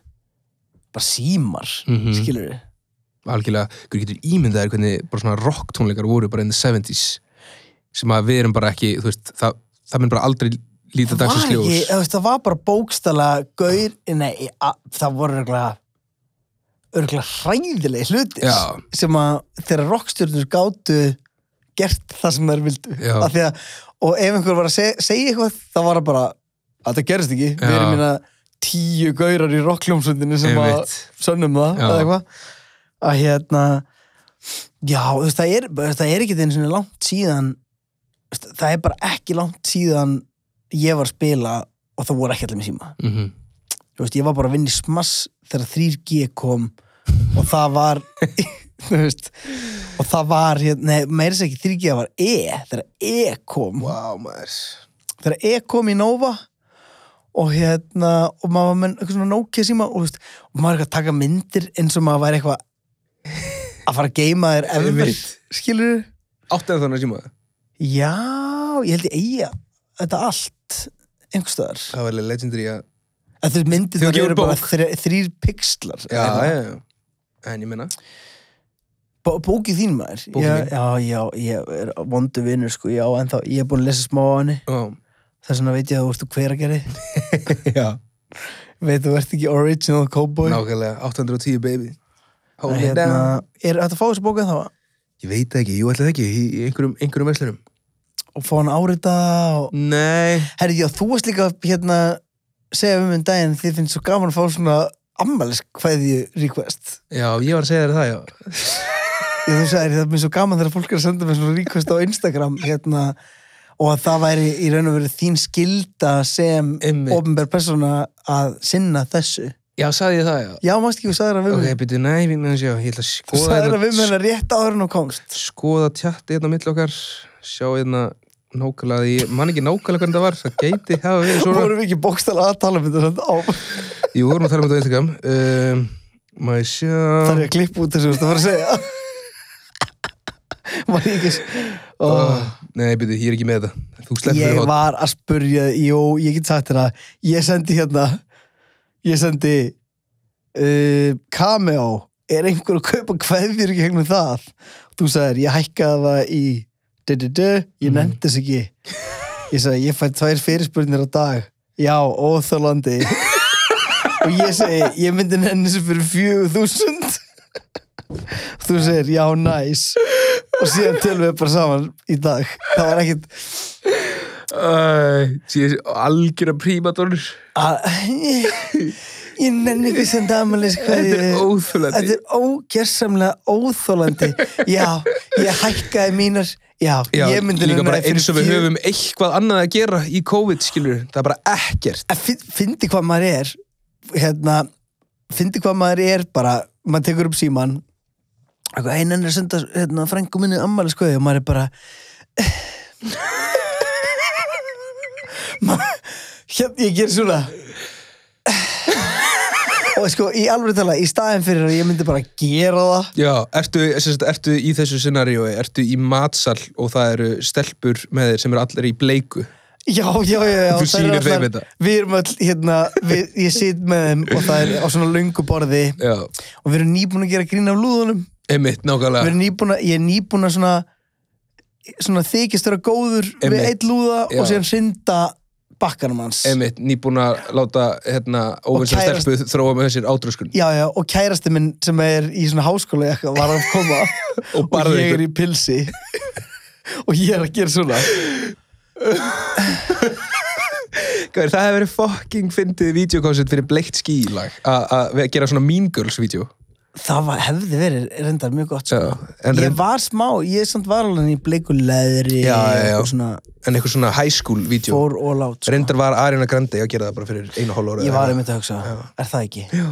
B: bara símar, mm
E: Mhm.
B: skilur við
E: Algjörlega, hvernig getur ímyndaðir hvernig bara svona rock tónleikar voru bara in the 70s sem að við erum bara ekki, þú veist, það það mun bara aldrei líta dagsins
B: var
E: ljós
B: ekki, þú veist, það var bara bókstala gaur, nei, a, það voru örgulega örgulega hræðilegi hlutir
E: Já.
B: sem að þegar rockstjörnur gátu gert það sem þær vildu
E: Já.
B: Af því að, og ef einhver var að seg, segja eitthvað þá var það bara, að það gerist ekki við erum
E: Já.
B: minna tíu gaurar í rockljómsundinu sem að
E: Einmitt.
B: sönnum það,
E: Já.
B: eða eitthvað að hérna já, þú veist, það er, þú veist, það er ekki þeim sinni langt síðan þú veist, það er bara ekki langt síðan ég var að spila og það voru ekki allir með síma
E: mm -hmm.
B: Þú veist, ég var bara að vinna í smass þegar 3G kom og það var þú veist, og það var, hér- nei, meira sér ekki 3G það var E, þegar E kom
E: wow, maður
B: þegar E kom í Nova og hérna, og maður var með eitthvað svona Nokia síma og, þú veist, og maður er eitthvað að taka myndir eins og maður væri eitthvað að fara að geima þér efvert,
E: Einmitt.
B: skilur þú?
E: átti það þannig að síma
B: Já, ég held ég eiga þetta allt einhverstaðar.
E: það var alveg legendary að
B: En þú veist, myndir
E: Þegar þú gefur
B: eru bara
E: bók.
B: þre, þrýr pixlar.
E: já, já, já. en ég menna
B: Bó, bókið þín maður.
E: Bókin
B: ég,
E: mín.
B: já, já, ég er vondu vinnur sko, já, en þá, ég er búin að lesa smá á henni.
E: oh.
B: Þess vegna veit ég að þú ert úr hveragerði.
E: já,
B: veit þú ert ekki original cowboy.
E: nákvæmlega 810 baby
B: En
E: Hold it
B: Hérna,
E: down.
B: er þetta að fá þessu bókið þá?
E: ég veit það ekki, jú ætla það ekki í í einhverjum, einhverjum veslunum
B: Og fá hann árita og...
E: nei,
B: Herri, já, þú varst líka hérna segja um um daginn, þið finnst svo gaman að fá svona ammæliskvæðju request.
E: já, ég var að segja þér það já,
B: Ég þú sagðir, það er mér svo gaman þegar fólk er að senda mér svona request á Instagram hérna, og að það væri í raun og veru þín skilda sem
E: Einmitt.
B: ofinbær persóna að sinna þessu.
E: já, sagði ég það já
B: Já, mást ekki þú sagðir að við
E: ok,
B: mér.
E: byrju, nei, við með þessu já ég ætla að
B: Þú
E: skoða
B: sagðir
E: hérna-
B: að við mér rétt áður en þú komst.
E: skoða tjatti hérna á milli okkar sjá hérna nákvæmlega ég man ekki nákvæmlega hvernig það var það gæti hafa verið
B: Svo
E: svona
B: vorum við ekki bókstala að tala um þetta samt á.
E: Jú, vorum að tala um þetta á Instagram um, Má ég sjá
B: Það er ég að klippa út þessu, þú veist að fara að segja. Var ég ekki... Oh.
E: oh, Nei, byrju, ég er ekki með þetta Þú sleppur
B: ég
E: fyrir hot
B: var að spurja jú, ég get sagt þér að ég sendi hérna ég sendi uh, cameo er einhver að kaupa kveðjur í gegnum það þú sagðir, ég hækkaði það í du, du, du, ég nefndi þess ekki ég sagði, ég fæ tvær fyrirspurnir á dag já, óþálandi og ég segi, ég myndi nefndi þessu fyrir fjögur þúsund þú segir, já, næs og síðan tölum við bara saman í dag það var ekkert
E: Æ, Ég er algjör að prímatónur
B: að ég, ég nenni ekki sem damalis
E: Þetta er óþolandi.
B: þetta er ógersamlega óþólandi já, ég hækkaði mínar já, ég myndi
E: Líka
B: nenni
E: bara
B: það fyrir
E: eins og við
B: fjö-
E: höfum eitthvað annað að gera í COVID, skilur Það er bara ekkert
B: að fin- fyndi hvað maður er hérna, fyndi hvað maður er bara, maður tekur upp síman einan er að senda hérna, frængu minni ammali skoði og maður er bara Ma- hérna, ég ger svona og sko, í alveg tala í staðin fyrir að ég myndi bara gera það
E: Já, ertu, sérst, ertu í þessu scenaríói, ertu í matsal og það eru stelpur með þér sem eru allir í bleiku
B: Já, já, já, já þær
E: Þú
B: eru
E: sýnir þeim
B: allar-
E: þetta.
B: Við erum öll, hérna, við, ég sit með þeim og það er á svona löngu borði
E: Já,
B: og við erum nýbúin að gera grín af lúðunum Við
E: einmitt,
B: erum
E: nákvæmlega
B: nýbúin að, ég er nýbúin að svona svona þykist vera góður við
E: Einmitt.
B: eitt lúða
E: Já.
B: og síðan hrinda bakkanum hans
E: Einmitt, nýbúin að láta hérna, óvinsar
B: kærast-
E: stelpu þróa með þessir átröskun
B: Já, já, og kærasti minn sem er í svona háskóla eitthvað var að koma
E: Og barði
B: ég er
E: ykkur.
B: í pilsi og ég er að gera svona
E: Gaur, það hefur verið fucking fyndið videokoncert fyrir bleikt skílag að gera svona Mean Girls vídeo
B: Það var, hefði verið reyndar mjög gott sko.
E: Já, en
B: Ég
E: reynd-
B: var smá, ég samt var alveg í bleiku leðri
E: Já, já, já.
B: og svona
E: en eitthvað svona high school vídeo
B: fór og lát sko.
E: Reyndar var Ariana Grande að gera það bara fyrir einu og hálf ára
B: Ég var einmitt að hugsa, er það ekki? Já.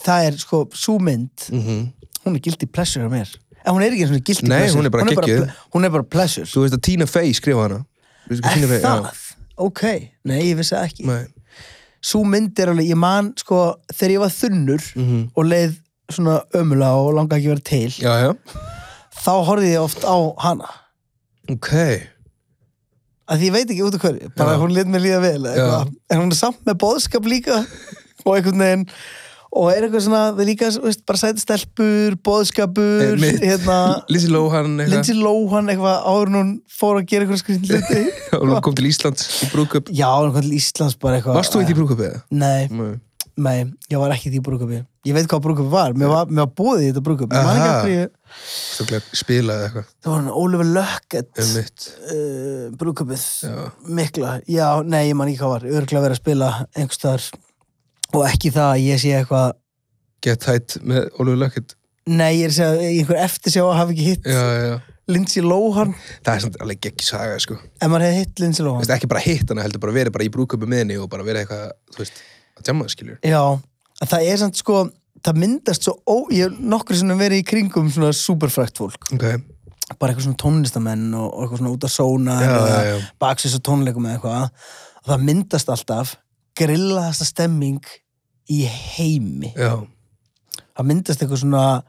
B: Það er sko, sú mynd hún er guilty pleasure hjá mér en hún er ekki eins og guilty
E: Mhm. Nei,
B: pleasure
E: hún er bara geggjuð.
B: ple- hún er bara pleasure
E: Þú veist að Tina Fey skrifa hana Veistu hvað Tina
B: Er
E: Fey-
B: það?
E: Já.
B: Ok, nei, ég vissi það ekki
E: Nei.
B: Sú mynd er alveg, ég man sko þegar ég var þunnur og leið svona ömulega og langa ekki að vera til
E: Mhm. Já, já
B: þá horfði ég oft á hana
E: Ok
B: að því ég veit ekki út af hverju, bara
E: Já.
B: hún lit mér líða vel eða
E: Já.
B: eitthvað. en hún er samt með boðskap líka og einhvern veginn og er eitthvað svona, það er líka þú veist, bara sæti stelpur, boðskapur
E: Einmitt.
B: hérna,
E: Lindsay Lohan eitthvað
B: Lindsay Lohan eitthvað áður en hún fór að gera eitthvað skrýnd hluti
E: og hún kom til Íslands í brúköp
B: já, eitthvað til Íslands bara eitthvað
E: Varst þú í því brúköp eða?
B: Nei,
E: Nei.
B: nei, ég var ekki í því brúkupi ég veit hvað brúkupi var, mér var, mér var búið í þetta brúkupi ég man ekki
E: Aha.
B: af hverju,
E: Stoklega spilaði eitthvað
B: það var hann Oliver Lökket
E: um mitt
B: uh, brúkupið mikla, já, nei, ég man ekki hvað var örgulega verið að spila einhvers staðar og ekki það að ég sé eitthvað
E: Get Tight með Oliver Luckett
B: nei, ég er að segja, einhver eftir sjá að hafa ekki hitt
E: já, já.
B: Lindsay Lohan,
E: Það er samt alveg ekki saga sko.
B: ef maður hefði hitt Lindsay
E: Þú
B: Lohan
E: veist, Ekki bara hitt hana heldur bara verið bara í brúköpu með henni og bara verið eitthvað þú veist, að jamma skilur
B: já, að það er samt sko það myndast svo, ó, ég hef nokkur sem verið í kringum svona superfrækt fólk
E: okay.
B: bara eitthvað svona tónlistamenn og, og eitthvað svona út að sóna
E: Já,
B: eða
E: já, já.
B: baksis og tónleikum eða eitthvað og það myndast alltaf grillaðasta stemming í heimi
E: Já,
B: það myndast eitthvað svona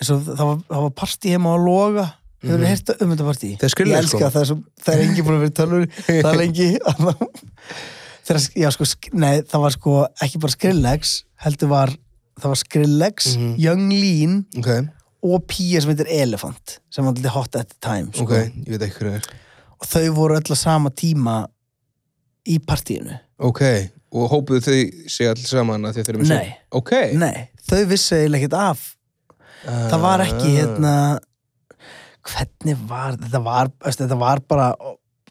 B: eins og það var, það var partí heima á loga hefur
E: Mhm.
B: þið heyrt um þetta partí
E: Það er skrillið,
B: ég elska
E: sko.
B: það, það er, svo, það er engi búin að vera í tölur það er lengi Þegar, sk- já, sko, sk- nei, það var sko ekki bara Skrillex heldur var, það var Skrillex
E: Mhm.
B: Young Lean
E: ok,
B: og Pía sem heitir Elephant sem var alltaf hot at the time sko.
E: ok, ég veit ekki hvernig er
B: og þau voru öll á sama tíma í partíinu
E: Ok, og hópuðu þau sig alls saman að þið þurfum
B: Nei.
E: Ok,
B: nei, þau vissu eiginlega ekkert af það var
E: Ah.
B: ekki hérna hvernig var þetta var, veist, þetta var bara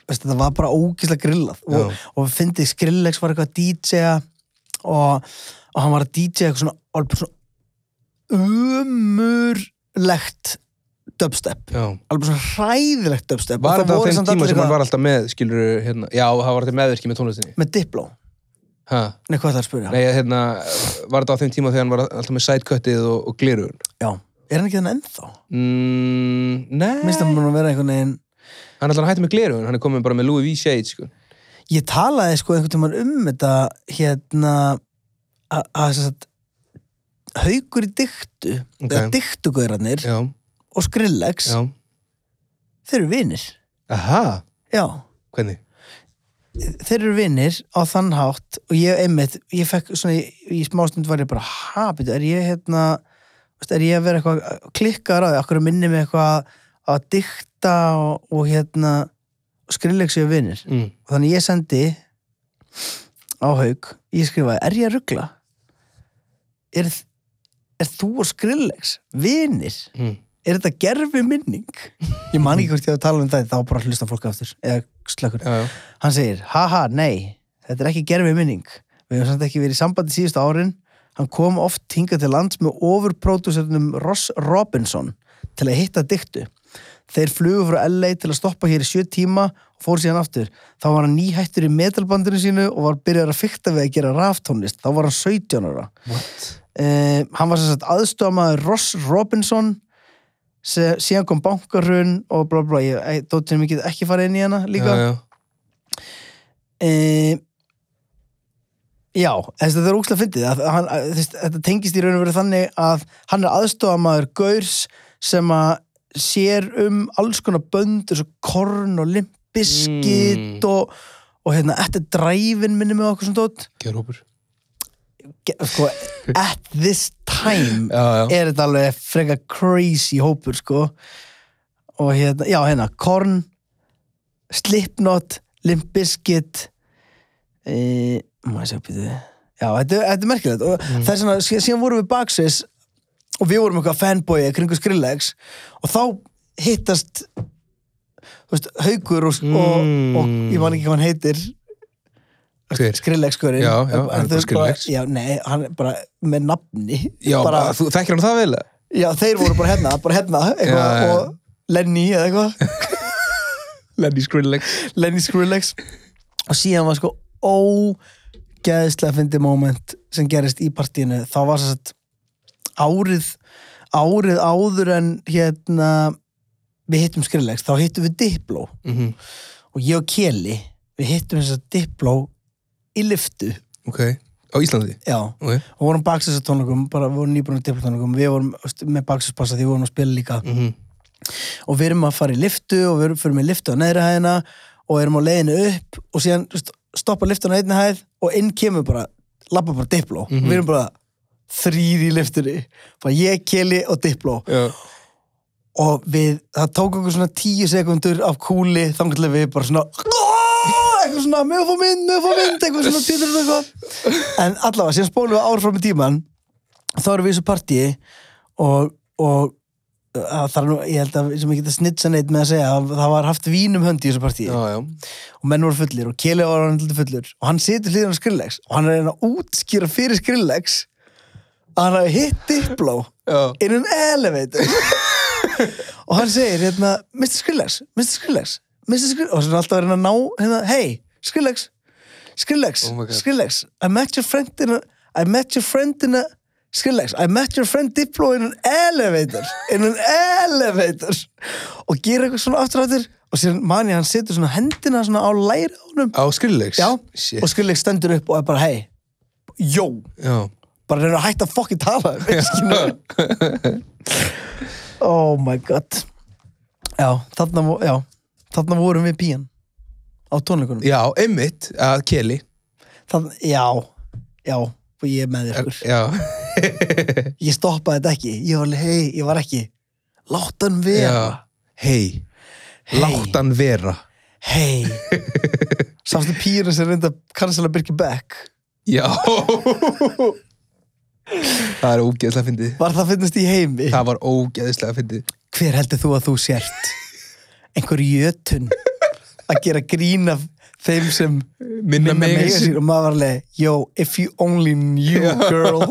B: veist, þetta var bara ógislega grillað og, og fyndið Skrillex var eitthvað að DJ-a og, og hann var að DJ eitthvað svona, alveg svona umurlegt dubstep,
E: Já.
B: alveg svona hræðilegt dubstep
E: Var
B: Og það
E: þetta á
B: voru
E: þeim
B: samt
E: tíma
B: allir
E: sem hann
B: eitthvað
E: var alltaf með, skilur hérna, Já, það var þetta meðvirkið með tónlistinni
B: með Diplo,
E: ha.
B: nei hvað það er að spyrja
E: Nei, hérna, var þetta á þeim tíma þegar hann var alltaf með sidecuttið og, og glirun
B: Já, er hann ekki þannig ennþá?
E: mm, Nei,
B: Minnst að hann búin að vera einhvern veginn
E: hann er alltaf hætti með glirun Hann er komin bara með Louis V. Shade, sko
B: Ég talaði sko einhvern tímann um þetta hérna að- að sem sagt, haukur í dyktu
E: Ok.
B: eða dyktugurarnir
E: Já,
B: og skrillex,
E: já
B: þeir eru vinir
E: Aha,
B: Já,
E: hvernig?
B: þeir eru vinir á þann hátt og ég einmitt, ég fekk svona í, í smástund var ég bara, ha, betur, er ég hérna veist, er ég að vera eitthvað klikkar á því, okkur minni mig eitthvað að dykta og, og hérna skrillegs ég vinir
E: Mm.
B: og þannig ég sendi á haug, ég skrifaði, er ég að ruggla? Er, er þú og skrillegs vinir?
E: Mm.
B: Er þetta gerfi minning? Ég man ekki hvort ég að tala um það, þá bara hlusta fólk aftur eða slökkur
E: Já, já,
B: hann segir, haha, nei þetta er ekki gerfið minning við hefum samt ekki verið í sambandi síðustu árin hann kom oft hingað til lands með overproducernum Ross Robinson til að hitta dyktu þeir flugu frá LA til að stoppa hér í sjö tíma og fór síðan aftur þá var hann nýhættur í metalbandinu sínu og var byrjar að fykta við að gera raftónlist þá var hann 17 ára
E: what?
B: uh, hann var sem sagt aðstofamaður Ross Robinson sem, síðan kom bankarun og blá blá, ég, eh, ég dóttir mikið ekki farið inn í hana líka
E: Já, já,
B: e, Já, þessi, þetta er úkslega fyndið að, hann, að, þessi, þetta tengist í raun og veru þannig að hann er aðstofamaður Gaurs sem að sér um alls konar bönd eins og korn og limpiskit
E: Mm.
B: og, og hérna, þetta er dræfin minni með okkur sem tótt
E: gerð hópur
B: Ge- sko, at this time
E: Já, já,
B: er þetta alveg freka crazy hópur sko og hérna, já hérna, Korn Slipknot Limp Bizkit e, maður sé að býta já, þetta, þetta er merkilegt og
E: Mm.
B: það er svona, sí- síðan vorum við baksins og við vorum eitthvað fanboyi kringu Skrillex og þá hittast þú veist, haukur og, og, og
E: Mm.
B: ég man ekki hvað hann heitir
E: hver?
B: Skrillex-skurinn
E: Já, já, hann er bara Skrillex.
B: já, nei, hann er bara með nafni
E: Já,
B: bara,
E: þú þekkir hann það vel? eða?
B: já, þeir voru bara hérna, bara hérna eitthvað,
E: Já, já.
B: og Lenny eða eitthvað
E: Lenny Skrillex
B: Lenny Skrillex og síðan var sko ógeðslega fyndi moment sem gerist í partíinu þá var svo sett árið árið áður en hérna við hittum Skrillex, þá hittum við Diplo
E: Mhm.
B: og ég og Keli við hittum þess að Diplo í lyftu,
E: Ok, á Íslandi
B: já
E: Ok,
B: og vorum baksins að tónleikum, bara við vorum nýbúin að dipla tónleikum, við vorum veist, með baksinspassa því við vorum að spila líka
E: Mhm.
B: og við erum að fara í liftu og við erum fyrir með liftu á neðri hæðina og erum á leiðinu upp og síðan þú veist, stoppa liftan á einni hæð og inn kemur bara, lappa bara diplo og við erum bara, þrýr í liftunni bara ég, Kelly og Diplo
E: Já.
B: og við, það tók okkur svona tíu sekundur af kúli þannig til að við bara svona eitthvað svona, með að fá mynd, með að fá mynd eitthvað svona, pítur eitthvað en allavega, síðan spólum við árfram í tíman þá erum við í þessu partíi og, og að það er nú, ég held að sem ég geta snitsa neitt með að segja að það var haft vínum hönd í þessu partíi
E: Já, já.
B: og menn voru fullir og Keli var hann heldur fullur og hann situr hliðan á Skrillex og hann er að reyna að útskýra fyrir Skrillex að hann hafi hitt Diplo
E: Já.
B: inn um elevator og hann segir hérna Mr. Skrillex, Mr. Skrillex, Mr. Skrillex og hann er alltaf að reyna að ná hérna, hey Skrillex, Skrillex,
E: Oh my God.
B: Skrillex I met your friend in a I met your friend in a Skrillex, I met your friend Diplo in an elevator in an elevator og gera eitthvað svona aftur aftur og síðan mani hann setur svona hendina svona á læri á honum
E: Á Skrillex?
B: Já,
E: Shit.
B: og Skrillex stendur upp og er bara hey, jó
E: Já.
B: bara reynir að hætta að fokkin tala um mig, skilurðu. oh my god já, þarna, vo- já, þarna vorum við pían á tónleikunum
E: Já, einmitt að Kelly.
B: Þarna, já, já og ég er með þér skur
E: Já.
B: ég stoppaði þetta ekki, ég var alveg hei, ég var ekki látt hann vera
E: Já. Hei,
B: Hey.
E: látt hann vera.
B: hei samstu píurinn sem reynda að kansala Birki Beck
E: Já. það er ógeðslega fyndið.
B: var það finnast í heimi
E: Það var ógeðslega fyndið.
B: hver heldur þú að þú sért einhver jötun að gera grín af þeim sem
E: Minna,
B: minna mega sín og maður var alveg, yo, if you only knew girl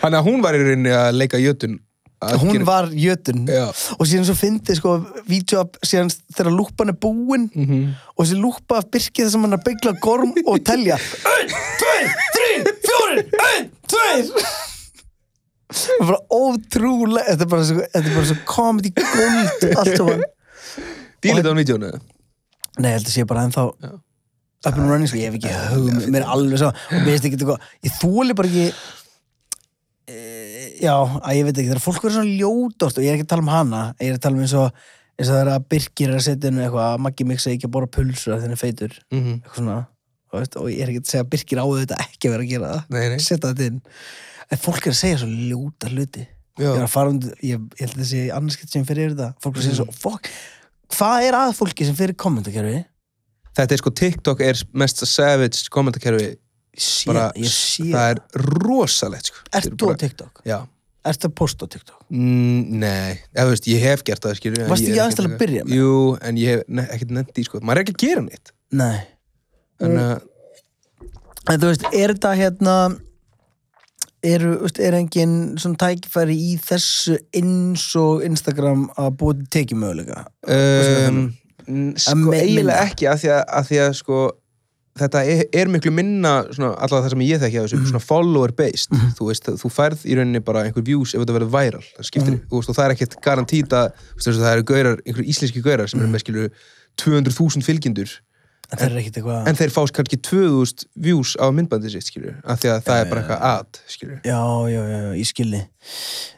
E: Þannig að hún var í rauninni að leika jötun. Að
B: hún
E: gera-
B: var jötun
E: Já.
B: og síðan svo fyndi sko vídeo af, síðan þegar lúpan er búin -hmm. og þessi lúpa af Birki þar sem hann er að byggla gorm og telja 1, 2, 3, 4 1, 2 það er bara ótrúlega þetta er bara svo, þetta er bara svo comedy gold allt og hann
E: Dýlið á vídjónu.
B: Nei, ég held að sé bara ennþá up and running, sko, ég hef ekki hugum mér er alveg svo, og mér veist ekki eitthvað ég þóli bara ekki e, já, að ég veit ekki, þegar fólk verður svona ljótort og ég er ekki að tala um hana ég er að tala um eins og eins og það er að Birkir er að setja inn eitthvað að Maggi miksa ekki að bora pulsur af þenni feitur
E: Mm -hmm.
B: eitthvað svona, og, veist, og ég er ekki að segja að Birkir á þetta ekki að vera að gera það
E: Nei, nei.
B: setja þetta inn, en fólk er að segja svo ljóta hluti
E: Já.
B: ég var að fara um, ég, ég held að þessi annarskitt sem fyrir yfir það fólk er að
E: Mm.
B: segja svo, fuck, hvað er að fólki sem fyrir kommentarkerfi
E: Þetta er sko, TikTok er mest savage kommentarkerfi.
B: sé,
E: Bara,
B: ég sé
E: það
B: það
E: er rosalegt, sko. Þetta
B: Ert
E: er
B: þú
E: bara-
B: á TikTok?
E: Já.
B: Ert það post á TikTok?
E: Mm, nei, eða þú veist, ég hef gert það skilur, en
B: Varstu
E: ég er
B: ekki aðeins til að
E: eitthvað-
B: byrja með?
E: Jú, en ég hef ne ekkert nefnt í sko, maður er ekki að gera neitt
B: Nei
E: en, uh,
B: En þú veist, er þetta hérna eru, þú veist, er engin svona tækifæri í þessu eins og Instagram að búið tekjumöguleika?
E: um, mm, sko,
B: mi-
E: eiginlega
B: minna.
E: ekki að því að, að, því að sko, þetta er, er miklu minna svona, allavega það sem ég þekki að þessu,
B: Mhm.
E: svona follower based þú veist, þú færð í rauninni bara einhver views ef þetta verður viral, það skiptir
B: Mhm.
E: mm veist, og það er ekkert garantít að þú veist, það eru gaurar, einhver íslenski gaurar sem eru með skilur 200.000 fylgjendur
B: En það er ekkit eitthvað
E: en þeir fá kannski 2000 views á myndbandi sitt skilur, af því að það er bara eitthvað ad skilur
B: Já, já, já, já, ég skilji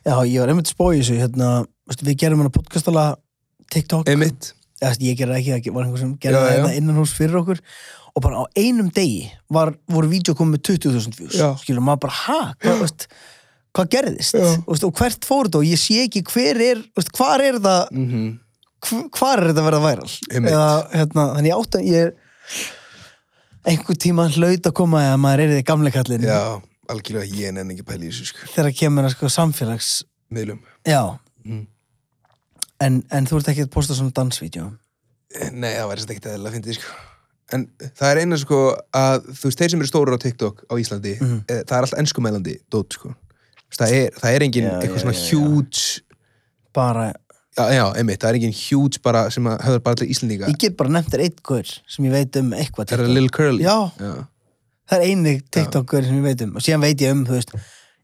B: Já, ég var einmitt spóið þessu hérna, þú veist, við gerum hana podcastala TikTok
E: Einmitt.
B: eða þú veist, ég gerði það ekki, það var einhver sem gerði
E: Já,
B: það
E: já.
B: hérna innan hús fyrir okkur og bara á einum degi var, voru vídeo komið með 20.000 views
E: Já.
B: skilur maður bara, ha, hvað, veist, hvað gerðist Þú veist, og hvert fór þetta og ég sé ekki hver er, þú veist, hvar er það mm hvar er þetta að verða væral
E: Mhm. Einmitt.
B: eða, hérna, þannig ég átt að ég einhver tíma hlaut að koma eða maður er í gamle kallin
E: Já, algjörlega ég nenni ekki pæli í þessu sko,
B: þegar kemur að sko samfélags
E: miðlum.
B: já
E: Mm.
B: en, en þú ert ekki að posta svona dansvídeó
E: Eh, Nei, það væri þetta ekkert eðlilega að fyndi sko. En það er eina sko að þú veist, þeir sem eru stórir á TikTok á Íslandi, eh, það er alltaf enskumælandi dót sko. Þú veist, Það er, það er
B: Já,
E: engin eitthvað
B: já,
E: svona
B: já, já.
E: huge,
B: bara,
E: já, já, einmitt, það er engin huge bara sem að höfður bara allir Íslandinga.
B: ég get bara nefnt þér eitt gaur sem ég veit um eitthvað
E: Það er
B: TikTok.
E: Lil Curly.
B: Já.
E: já.
B: það er eini TikTokur sem ég veit um og síðan veit ég um, þú veist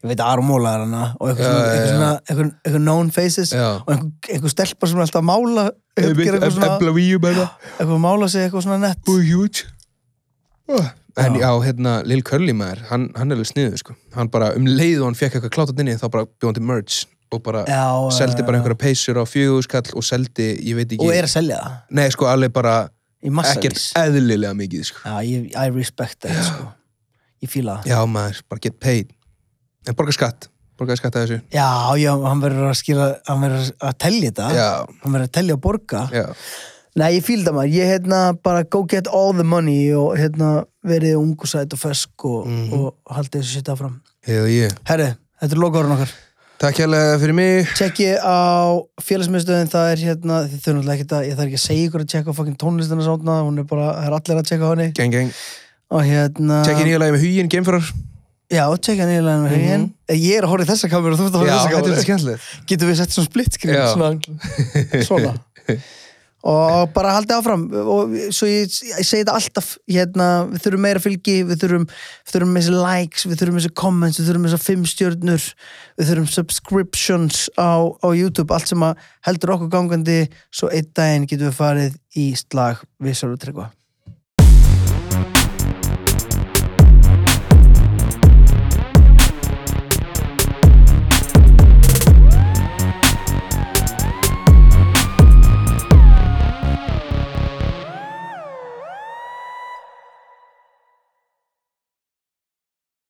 B: ég veit að Aron Móla er hana og eitthvað svona,
E: Já, já,
B: eitthvað,
E: já.
B: svona eitthvað, eitthvað known faces
E: Já.
B: og eitthvað, eitthvað stelpa sem er alltaf að mála eitthvað, gera eitthvað, svona,
E: víu bara.
B: eitthvað að mála sig eitthvað svona nett
E: Og huge. Ah. En já, hérna, Lil Curly maður, hann, hann er alveg sniður sko. Hann bara um leið og hann fekk eitthvað klátt að dinni þá bara bjóðan til merch og bara
B: Já, já,
E: seldi
B: já, já.
E: bara einhverja peysur á fjögurskall og seldi, ég veit ekki
B: og er að selja það
E: Nei, sko, alveg bara
B: í massalís
E: e- ekkert eðlilega mikið sko.
B: Já, ég, I respect that sko. ég fíla það
E: Já, maður, bara get paid. En borga skatt. Borga skatt af þessu.
B: já, já, hann verður að skila hann verður að tellja þetta
E: Já.
B: hann verður að tellja og borga
E: Já.
B: Nei, ég fíl það maður, ég hérna bara go get all the money og hérna verið ung og sæt og fesk og, og haldið þessu shit áfram.
E: Hell yeah.
B: Mhm. Herri, þetta er lokaðurinn okkar.
E: Takk hérlega fyrir mig.
B: Tjekkið á félagsmiðstöðin, það er hérna, þið þurfum alltaf ekki að, ég þarf ekki að segja ykkur að tjekka á fucking tónlistina sátna, hún er bara, það er allir að tjekka á henni.
E: Gang, gang.
B: Og hérna...
E: Tjekkið nýja lagi með huginn, geimfarar.
B: Já, tjekkið nýja lagin með huginn. Eh, Ég er að horfa í þessa kameru og þú ert að horfa
E: Mhm. Já,
B: í þessa
E: þetta er
B: kameru.
E: skemmtilegt.
B: Getum við sett svona split screen,
E: Já.
B: svona, svona. og bara haldið áfram og svo ég, ég segi þetta alltaf hérna, við þurfum meira fylgi við þurfum, við þurfum þessi likes, við þurfum þessi comments við þurfum þessi fimm stjörnur við þurfum subscriptions á, á YouTube, allt sem að heldur okkur gangandi svo einn daginn getum við farið í slag við Sölvi Tryggva